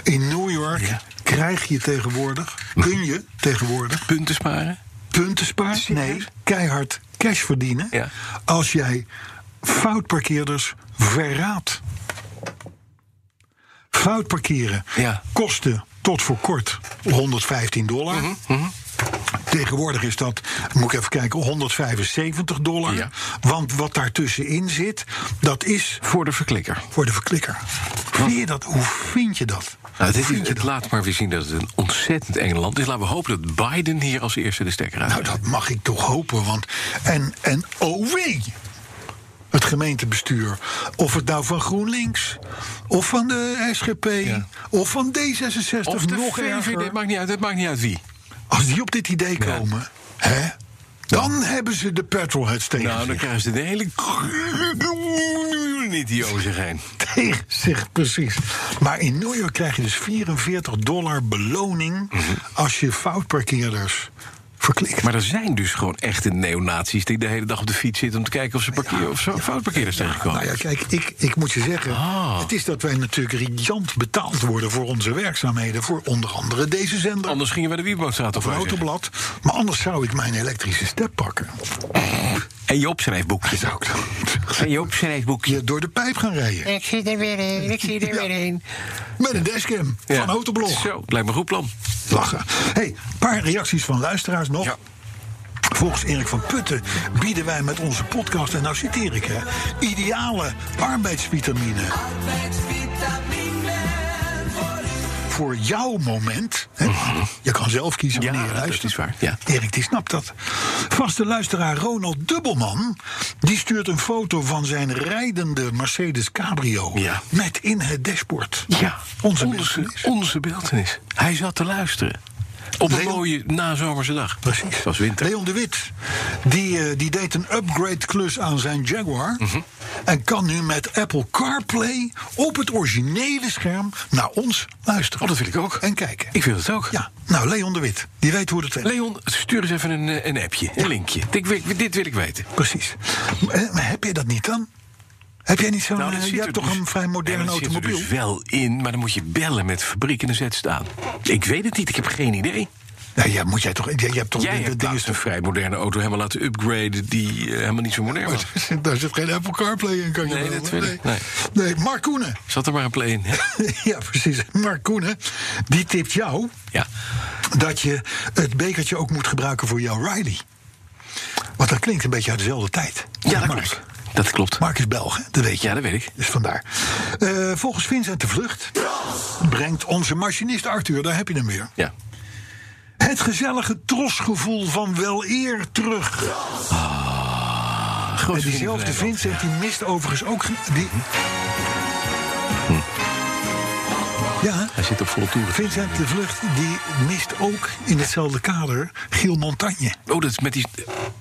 Speaker 3: In New York
Speaker 2: Ja.
Speaker 3: krijg je tegenwoordig. Kun je tegenwoordig
Speaker 2: Punten sparen.
Speaker 3: punten sparen?
Speaker 2: Serieus?
Speaker 3: Nee, keihard cash verdienen.
Speaker 2: Ja.
Speaker 3: Als jij foutparkeerders verraadt. Fout parkeren
Speaker 2: Ja.
Speaker 3: kostte tot voor kort 115 dollar.
Speaker 2: Mhm,
Speaker 3: Tegenwoordig is dat, moet ik even kijken, 175 dollar.
Speaker 2: Ja.
Speaker 3: Want wat daartussenin zit, dat is
Speaker 2: Voor de verklikker.
Speaker 3: voor de verklikker. Vind je dat? Hoe vind je dat?
Speaker 2: Nou, dit is,
Speaker 3: Vind je
Speaker 2: het
Speaker 3: dat?
Speaker 2: laat maar weer zien dat het een ontzettend eng land is. Laten we hopen dat Biden hier als eerste de stekker uit.
Speaker 3: Nou, dat mag ik toch hopen, want... En, en oh wee! Het gemeentebestuur. Of het nou van GroenLinks, of van de SGP,
Speaker 2: Ja.
Speaker 3: of van D66,
Speaker 2: of de
Speaker 3: nog
Speaker 2: VVD, het
Speaker 3: erger.
Speaker 2: maakt niet uit, het maakt niet uit wie.
Speaker 3: Als die op dit idee
Speaker 2: Ja.
Speaker 3: komen, hè, dan hebben ze de petrolheads tegen,
Speaker 2: Nou, dan
Speaker 3: zich.
Speaker 2: krijgen ze de
Speaker 3: (laughs)
Speaker 2: hele... niet die over zich heen.
Speaker 3: (laughs) tegen zich. Precies. Maar in New York krijg je dus 44 dollar beloning... als je foutparkeerders verklikt.
Speaker 2: Mhm. Maar er zijn dus gewoon echte neonazies die de hele dag op de fiets zitten... om te kijken of ze, parkeer, of ze foutparkeerders tegenkomen.
Speaker 3: Nou ja, kijk, ik, ik moet je zeggen.
Speaker 2: Ah.
Speaker 3: Het is dat wij natuurlijk riant betaald worden voor onze werkzaamheden. Voor onder andere deze zender.
Speaker 2: Anders gingen we de Wieboudstraat op
Speaker 3: Voor Autoblad. Maar anders zou ik mijn elektrische step pakken.
Speaker 2: En je opschrijfboekje.
Speaker 3: Zou ik dan
Speaker 2: En je opschrijfboekje.
Speaker 3: je door de pijp gaan rijden.
Speaker 2: Ik zie er weer heen, ik zie er
Speaker 3: Ja.
Speaker 2: weer heen.
Speaker 3: Met een dashcam van Autoblog.
Speaker 2: Zo, lijkt me een goed plan.
Speaker 3: Oh. Lachen. hey, een paar reacties van luisteraars nog.
Speaker 2: Ja.
Speaker 3: Volgens Erik van Putten bieden wij met onze podcast, en nou citeer ik hè, ideale arbeidsvitamine. Voor jouw moment. Hè? Je kan zelf kiezen
Speaker 2: Mhm. Ja,
Speaker 3: wanneer je
Speaker 2: dat
Speaker 3: luistert.
Speaker 2: is waar, ja.
Speaker 3: Erik die snapt dat. Vaste luisteraar Ronald Dubbelman die stuurt een foto van zijn rijdende Mercedes Cabrio
Speaker 2: Ja.
Speaker 3: met in het dashboard.
Speaker 2: Ja,
Speaker 3: onze
Speaker 2: onze,
Speaker 3: beeldenis.
Speaker 2: onze beeldenis. Hij zat te luisteren. Op een
Speaker 3: Leon-
Speaker 2: mooie nazomerse dag.
Speaker 3: Precies.
Speaker 2: Het was winter.
Speaker 3: Leon de Wit, die, eh, die deed een upgrade klus aan zijn Jaguar.
Speaker 2: Mhm.
Speaker 3: En kan nu met Apple CarPlay op het originele scherm naar ons luisteren.
Speaker 2: Oh, dat wil ik ook.
Speaker 3: En kijken.
Speaker 2: Ik wil het ook.
Speaker 3: Ja, nou Leon de Wit, die weet hoe dat werkt.
Speaker 2: Leon, stuur eens even een, eh, een appje, een linkje. Ik, wil- dit wil ik weten.
Speaker 3: Precies. Eh, Maar heb jij dat niet dan? Heb jij niet zo'n...
Speaker 2: Nou,
Speaker 3: eh,
Speaker 2: dat
Speaker 3: je
Speaker 2: zit
Speaker 3: hebt
Speaker 2: er
Speaker 3: toch
Speaker 2: dus-
Speaker 3: een vrij modern
Speaker 2: Nee, maar dat
Speaker 3: automobiel?
Speaker 2: Zit er dus wel in, maar dan moet je bellen met de fabriek en dan zet ze het aan. Ik weet het niet, ik heb geen idee.
Speaker 3: Nou ja, moet jij toch... Jij, jij hebt toch...
Speaker 2: Jij
Speaker 3: dat
Speaker 2: hebt
Speaker 3: ding
Speaker 2: laatst
Speaker 3: is
Speaker 2: een vrij moderne auto helemaal laten upgraden die eh, helemaal niet zo modern (laughs)
Speaker 3: (laughs)
Speaker 2: was.
Speaker 3: Daar zit geen Apple CarPlay in, kan je
Speaker 2: Nee,
Speaker 3: wel-
Speaker 2: dat wil ik-
Speaker 3: Nee, nee Mark Koenen. (laughs)
Speaker 2: Zat er maar een play in. hè?
Speaker 3: ja, precies. Mark Koenen, die tipt jou
Speaker 2: Ja.
Speaker 3: dat je het bekertje ook moet gebruiken voor jouw Riley. Want dat klinkt een beetje uit dezelfde tijd.
Speaker 2: Ja, dat
Speaker 3: Mark.
Speaker 2: klopt. Dat klopt.
Speaker 3: Mark is Belg, hè? dat weet je.
Speaker 2: Ja, dat weet ik.
Speaker 3: Dus vandaar. Eh, volgens Vincent de Vlucht brengt onze machinist Arthur, daar heb je hem weer.
Speaker 2: Ja.
Speaker 3: Het gezellige trosgevoel van wel eer terug. en diezelfde Vincent die mist overigens ook. ge- Die...
Speaker 2: Mhm.
Speaker 3: Ja, hè?
Speaker 2: Hij zit op volle toeren.
Speaker 3: Vincent de Vlucht die mist ook in hetzelfde kader Giel Montagne.
Speaker 2: Oh, dat is met die.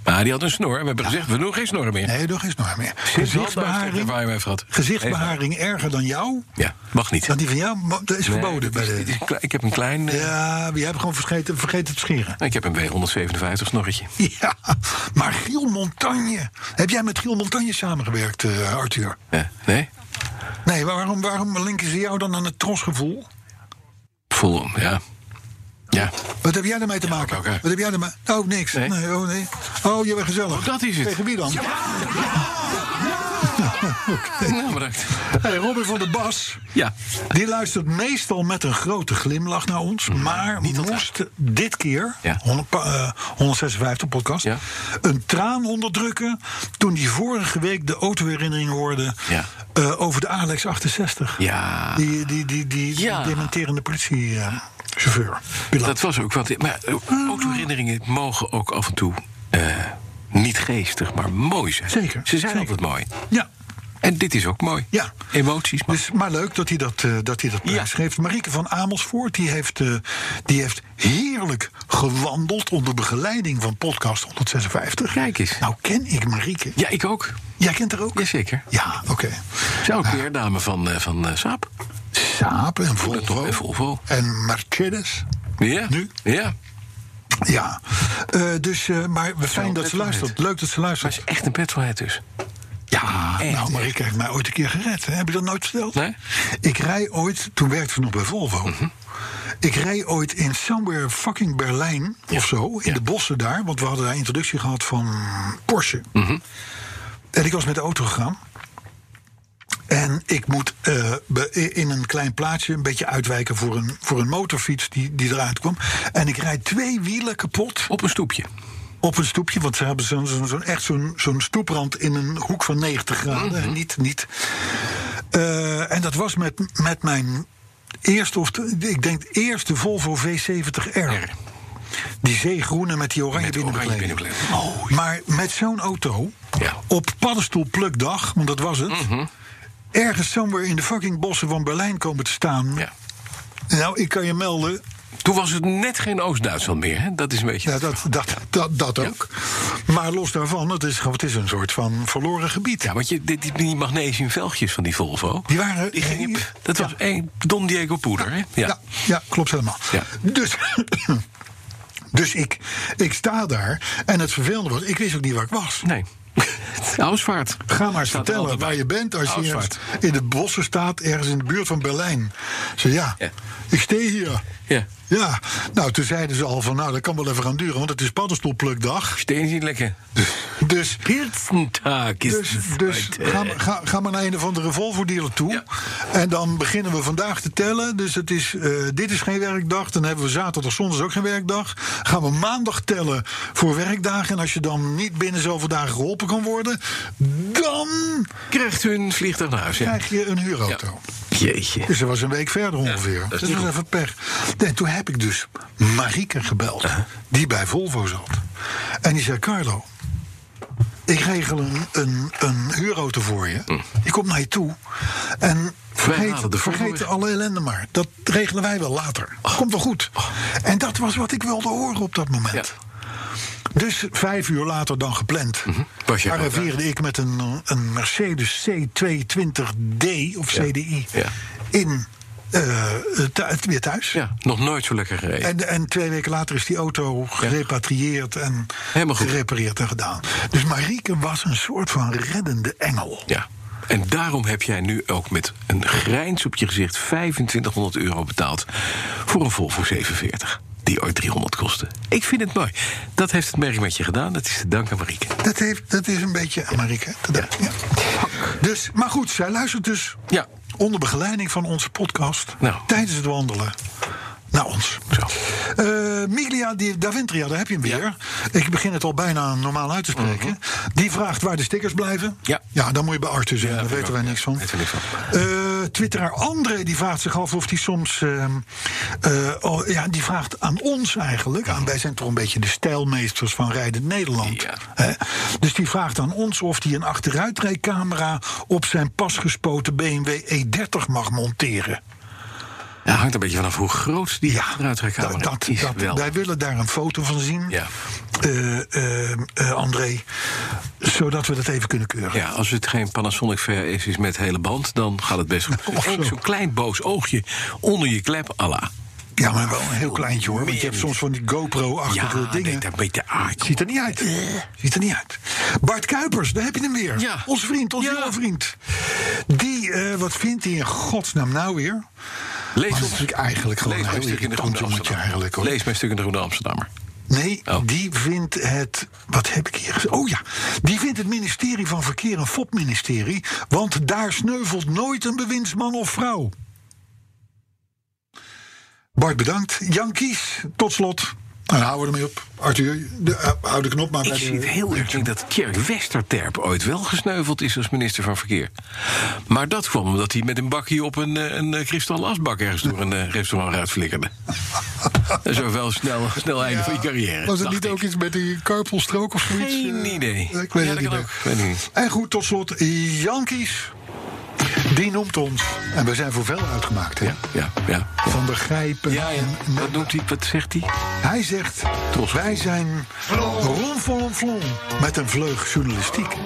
Speaker 2: Ah, die had een snor. En we hebben gezegd, we doen geen snorren meer.
Speaker 3: Nee, nog eens nog meer.
Speaker 2: Waar je
Speaker 3: Gezichtsbeharing,
Speaker 2: hem even had.
Speaker 3: gezichtsbeharing erger dan jou,
Speaker 2: Ja, mag niet.
Speaker 3: dan die van jou, maar dat is
Speaker 2: Nee,
Speaker 3: verboden.
Speaker 2: dit
Speaker 3: Bij
Speaker 2: is- dit
Speaker 3: de...
Speaker 2: is een klein- Ik heb een klein. eh,
Speaker 3: Ja, je hebt gewoon vergeten, vergeten te scheren. (laughs)
Speaker 2: Ik heb een W157 snorretje.
Speaker 3: Ja, maar Giel Montagne. Heb jij met Giel Montagne samengewerkt, eh, Arthur?
Speaker 2: Ja, nee?
Speaker 3: Nee, waarom, waarom linken ze jou dan aan het trosgevoel?
Speaker 2: Vol, ja. Ja.
Speaker 3: Wat heb jij daarmee te maken?
Speaker 2: oké.
Speaker 3: Wat heb jij daarmee? Oh, niks.
Speaker 2: Nee.
Speaker 3: Nee. oh, nee. oh, je bent gezellig.
Speaker 2: Oh, dat is het.
Speaker 3: Tegen wie dan?
Speaker 2: Nou, bedankt.
Speaker 3: Hey, Robin van der Bas.
Speaker 2: Ja.
Speaker 3: Die luistert meestal met een grote glimlach naar ons. Maar moest dit keer,
Speaker 2: Mm, Ja.
Speaker 3: 100 pa- eh, 156 podcast,
Speaker 2: Ja.
Speaker 3: een traan onderdrukken. toen hij vorige week de autoherinnering hoorde.
Speaker 2: Ja.
Speaker 3: eh, over de Alex 68.
Speaker 2: Ja.
Speaker 3: Die, die, die, die, die
Speaker 2: Ja.
Speaker 3: dementerende politiechauffeur.
Speaker 2: Dat was ook wat. Maar eh, autoherinneringen mogen ook af en toe. eh, niet geestig, maar mooi zijn.
Speaker 3: Zeker,
Speaker 2: Ze zijn
Speaker 3: zeker.
Speaker 2: altijd mooi.
Speaker 3: Ja.
Speaker 2: En dit is ook mooi.
Speaker 3: Ja.
Speaker 2: Emoties, maar.
Speaker 3: Dus, maar leuk dat hij dat, eh, dat, hij dat
Speaker 2: Ja.
Speaker 3: schreef. Marieke van Amersfoort die heeft, eh, die heeft heerlijk gewandeld onder begeleiding van podcast 156.
Speaker 2: Kijk eens.
Speaker 3: Nou ken ik Marieke.
Speaker 2: Ja, ik ook.
Speaker 3: Jij kent haar ook?
Speaker 2: Jazeker.
Speaker 3: Ja, oké.
Speaker 2: Ze is ook weer dame van, eh, van eh, Saab.
Speaker 3: Saab en Volvo.
Speaker 2: en Volvo.
Speaker 3: En Mercedes.
Speaker 2: Ja.
Speaker 3: Nu?
Speaker 2: Ja.
Speaker 3: Ja. Eh, dus, eh, maar we fijn dat
Speaker 2: net
Speaker 3: ze
Speaker 2: nog
Speaker 3: luistert.
Speaker 2: net.
Speaker 3: Leuk dat ze
Speaker 2: Maar
Speaker 3: luistert.
Speaker 2: ze is echt een petrolhead dus.
Speaker 3: Ja,
Speaker 2: Echt,
Speaker 3: nou, Marieke heeft mij ooit een keer gered. Hè? Heb je dat nooit verteld?
Speaker 2: Nee. Mhm.
Speaker 3: Ik rij ooit, toen werkte ik nog bij Volvo. Ik rij ooit in somewhere fucking Berlijn of zo, in
Speaker 2: Ja.
Speaker 3: de bossen daar, want we hadden daar introductie gehad van Porsche.
Speaker 2: Mhm.
Speaker 3: En ik was met de auto gegaan. En ik moet eh, be- in een klein plaatsje een beetje uitwijken voor een, voor een motorfiets die, die eruit kwam. En ik rijd twee wielen kapot
Speaker 2: Op een stoepje.
Speaker 3: op een stoepje, want ze hebben zo'n, zo'n, zo'n- echt zo'n, zo'n stoeprand in een hoek van 90 graden.
Speaker 2: Mhm.
Speaker 3: Niet, niet. Eh, en dat was met, met mijn eerste, of de- ik denk eerste Volvo V70R.
Speaker 2: R.
Speaker 3: Die zeegroene met die oranje
Speaker 2: Met de oranje
Speaker 3: binnenkleding.
Speaker 2: binnenkleding.
Speaker 3: Maar met zo'n auto,
Speaker 2: Ja. Mhm.
Speaker 3: op paddenstoelplukdag, want dat was het... ergens somewhere in de fucking bossen van Berlijn komen te staan.
Speaker 2: Ja.
Speaker 3: Nou, ik kan je melden,
Speaker 2: Toen was het net geen Oost-Duitsland meer. Hè? Dat is een beetje...
Speaker 3: ja, dat, dat, dat, dat ook. Maar los daarvan, het is, gewoon- het is een soort van verloren gebied.
Speaker 2: Ja, want je, dit, die- die magnesiumvelgjes van die Volvo...
Speaker 3: Die waren-
Speaker 2: Die gingen,
Speaker 3: eh,
Speaker 2: dat was één Don Diego poeder, hè? Ja.
Speaker 3: Ja, ja, klopt helemaal.
Speaker 2: Ja.
Speaker 3: Dus, (coughs) dus ik, ik sta daar en het vervelende was, ik wist ook niet waar ik was.
Speaker 2: Nee. (laughs) Ausvaart.
Speaker 3: Ga maar
Speaker 2: Staat er
Speaker 3: eens vertellen
Speaker 2: altijd
Speaker 3: waar
Speaker 2: bij.
Speaker 3: je bent als je
Speaker 2: Ausvaart.
Speaker 3: ergens in de bossen staat, ergens in de buurt van Berlijn. Ze ja,
Speaker 2: Ja.
Speaker 3: ik sta hier.
Speaker 2: Ja.
Speaker 3: Ja, nou toen zeiden ze al van nou dat kan wel even gaan duren, want het is paddenstoelplukdag.
Speaker 2: Steen is niet lekker.
Speaker 3: Dus,
Speaker 2: Pilsentaak is
Speaker 3: dus,
Speaker 2: het. eh,
Speaker 3: dus ga, ga, ga maar naar een of andere Volvo-dealer toe.
Speaker 2: Ja.
Speaker 3: En dan beginnen we vandaag te tellen. Dus het is, eh, dit is geen werkdag. Dan hebben we zaterdag, zondag ook geen werkdag. Gaan we maandag tellen voor werkdagen. En als je dan niet binnen zoveel dagen geholpen kan worden... dan
Speaker 2: Krijgt u een vliegtuig naar huis, ja.
Speaker 3: krijg je een huurauto.
Speaker 2: Jeetje.
Speaker 3: Dus dat was een week verder ongeveer.
Speaker 2: dat is
Speaker 3: dus
Speaker 2: niet
Speaker 3: dat was even pech. Nee, toen heb ik dus Marieke gebeld,
Speaker 2: Uh-huh.
Speaker 3: die bij Volvo zat. En die zei: Carlo, ik regel een, een, een huurauto voor je. Ik kom naar je toe. En
Speaker 2: Mm. halen
Speaker 3: vergeet,
Speaker 2: de Volvo
Speaker 3: vergeet
Speaker 2: weg. Oh.
Speaker 3: alle ellende maar. Dat regelen wij wel later. Komt wel goed. En dat was wat ik wilde horen op dat moment.
Speaker 2: Ja. Mhm.
Speaker 3: Dus vijf uur later dan gepland.
Speaker 2: Hm? Was je
Speaker 3: Arriveerde ik met een, een Mercedes C220D of
Speaker 2: Ja.
Speaker 3: CDI
Speaker 2: Ja.
Speaker 3: in eh, thu- weer thuis.
Speaker 2: Ja, nog nooit zo lekker gereden.
Speaker 3: En, en twee weken later is die auto gerepatrieerd en
Speaker 2: Helemaal goed.
Speaker 3: gerepareerd en gedaan. Dus Marieke was een soort van reddende engel.
Speaker 2: Ja. En daarom heb jij nu ook met een grijns op je gezicht 2500 euro betaald voor een Volvo 47. Die ooit 300 kostte. Ik vind het mooi. Dat heeft het merk met je gedaan. Dat is te danken, Marieke.
Speaker 3: Dat, heeft, dat is een beetje aan Marieke. te danken, ja. Dus, maar goed, zij luistert dus
Speaker 2: Ja.
Speaker 3: onder begeleiding van onze podcast
Speaker 2: Nou.
Speaker 3: tijdens het wandelen naar ons.
Speaker 2: Zo.
Speaker 3: Eh, Miglia di Daventria, daar heb je hem weer.
Speaker 2: Ja. Mhm.
Speaker 3: Ik begin het al bijna normaal uit te spreken. Die vraagt waar de stickers blijven.
Speaker 2: Ja.
Speaker 3: ja dan moet je bij Arthur zijn. daar
Speaker 2: dat
Speaker 3: weten wij
Speaker 2: ook,
Speaker 3: niks
Speaker 2: ja.
Speaker 3: van.
Speaker 2: Weten we niks van.
Speaker 3: Eh, Twitteraar André die vraagt zich af of hij soms. ehm, eh, oh, ja, die vraagt aan ons eigenlijk. Aan, wij zijn toch een beetje de stijlmeesters van Rijdend Nederland.
Speaker 2: Ja.
Speaker 3: Hè? Dus die vraagt aan ons of hij een achteruitrijcamera op zijn pasgespoten BMW E30 E mag monteren.
Speaker 2: Ja, hangt een beetje vanaf hoe groot die
Speaker 3: dat,
Speaker 2: achteruitrijkamer
Speaker 3: dat,
Speaker 2: is.
Speaker 3: dat-
Speaker 2: wel.
Speaker 3: wij willen daar een foto van zien.
Speaker 2: Ja.
Speaker 3: Eh, eh, eh, André, zodat we dat even kunnen keuren.
Speaker 2: Ja, als het geen Panasonic VR is, is met hele band, dan gaat het best goed.
Speaker 3: (laughs) Of
Speaker 2: Ook
Speaker 3: zo.
Speaker 2: zo'n klein boos oogje onder je klep, alla.
Speaker 3: Ja, maar wel een heel kleintje hoor. Want je
Speaker 2: Meer
Speaker 3: hebt
Speaker 2: niet.
Speaker 3: soms van die GoPro-achtige
Speaker 2: Ja,
Speaker 3: dingen.
Speaker 2: nee, Eh. dat een beetje aard.
Speaker 3: Ziet er niet uit. Ziet er niet uit. Bart Kuipers, daar heb je hem weer.
Speaker 2: Ja.
Speaker 3: Onze vriend, onze
Speaker 2: Ja.
Speaker 3: jonge vriend. Die, eh, wat vindt hij in godsnaam nou weer?
Speaker 2: Lees
Speaker 3: Maar
Speaker 2: ons-
Speaker 3: dat is natuurlijk eigenlijk gewoon
Speaker 2: Lees
Speaker 3: een
Speaker 2: mijn
Speaker 3: heel
Speaker 2: stuk in de Groene
Speaker 3: irritant jongetje
Speaker 2: Amsterdammer.
Speaker 3: eigenlijk. Hoor.
Speaker 2: Lees mijn stuk in de Groene Amsterdammer.
Speaker 3: Nee,
Speaker 2: Oh.
Speaker 3: die vindt het. Wat heb ik hier gezegd? Oh ja, die vindt het ministerie van Verkeer een fopministerie. Want daar sneuvelt nooit een bewindsman of vrouw. Bart, bedankt. Jan Kies, tot slot. Nou, houden we ermee op. Arthur, de, eh, hou de knop maar bij
Speaker 2: Ik
Speaker 3: de-
Speaker 2: zie het heel eerlijk dat Tjerk Westerterp ooit wel gesneuveld is als minister van Verkeer. Maar dat kwam omdat hij met een bakje op een, eh, een eh, kristallen asbak ergens door een eh, restaurant uitflikkerde. Dat is ook wel snel, snel einde van je carrière.
Speaker 3: Was het
Speaker 2: dacht
Speaker 3: niet
Speaker 2: ik.
Speaker 3: ook iets met die carpoolstrook of zoiets?
Speaker 2: Geen
Speaker 3: Eh,
Speaker 2: idee.
Speaker 3: Ik
Speaker 2: Ja,
Speaker 3: weet
Speaker 2: dat
Speaker 3: het niet
Speaker 2: kan
Speaker 3: meer.
Speaker 2: ook. Weet ik niet.
Speaker 3: En goed, tot slot, Yankees. Die noemt ons. En we zijn voor veel uitgemaakt, hè?
Speaker 2: Ja, ja, ja.
Speaker 3: Van begrijpen.
Speaker 2: Ja, ja.
Speaker 3: en-
Speaker 2: Wat noemt hij? Wat zegt hij?
Speaker 3: Hij zegt,
Speaker 2: Trots.
Speaker 3: wij zijn ronflonflon met een vleug journalistiek.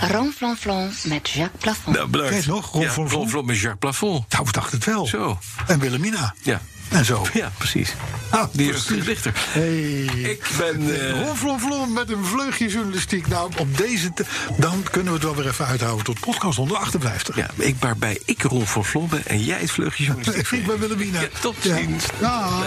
Speaker 6: Ronflonflon met Jacques Plafond.
Speaker 2: Nou, bedankt.
Speaker 3: Kijk nog, Ron
Speaker 2: Ja,
Speaker 3: van Vlon.
Speaker 2: Ron Vlon met Jacques Plafond.
Speaker 3: Nou, we dachten het wel.
Speaker 2: Zo.
Speaker 3: En Willemina.
Speaker 2: Ja.
Speaker 3: En zo.
Speaker 2: Ja, precies.
Speaker 3: Ah,
Speaker 2: Die is
Speaker 3: precies.
Speaker 2: dichter.
Speaker 3: Hey.
Speaker 2: Ik ben... eh,
Speaker 3: Ronflonflon met een vleugje journalistiek. Nou, op deze... te- Dan kunnen we het wel weer even uithouden tot podcast 158.
Speaker 2: Ja, ik waarbij ik Ron van Vlon ben en jij het vleugje journalistiek.
Speaker 3: Ik vind bij Willemina.
Speaker 2: Ja, tot
Speaker 3: Ja.
Speaker 2: ziens.
Speaker 3: Dag.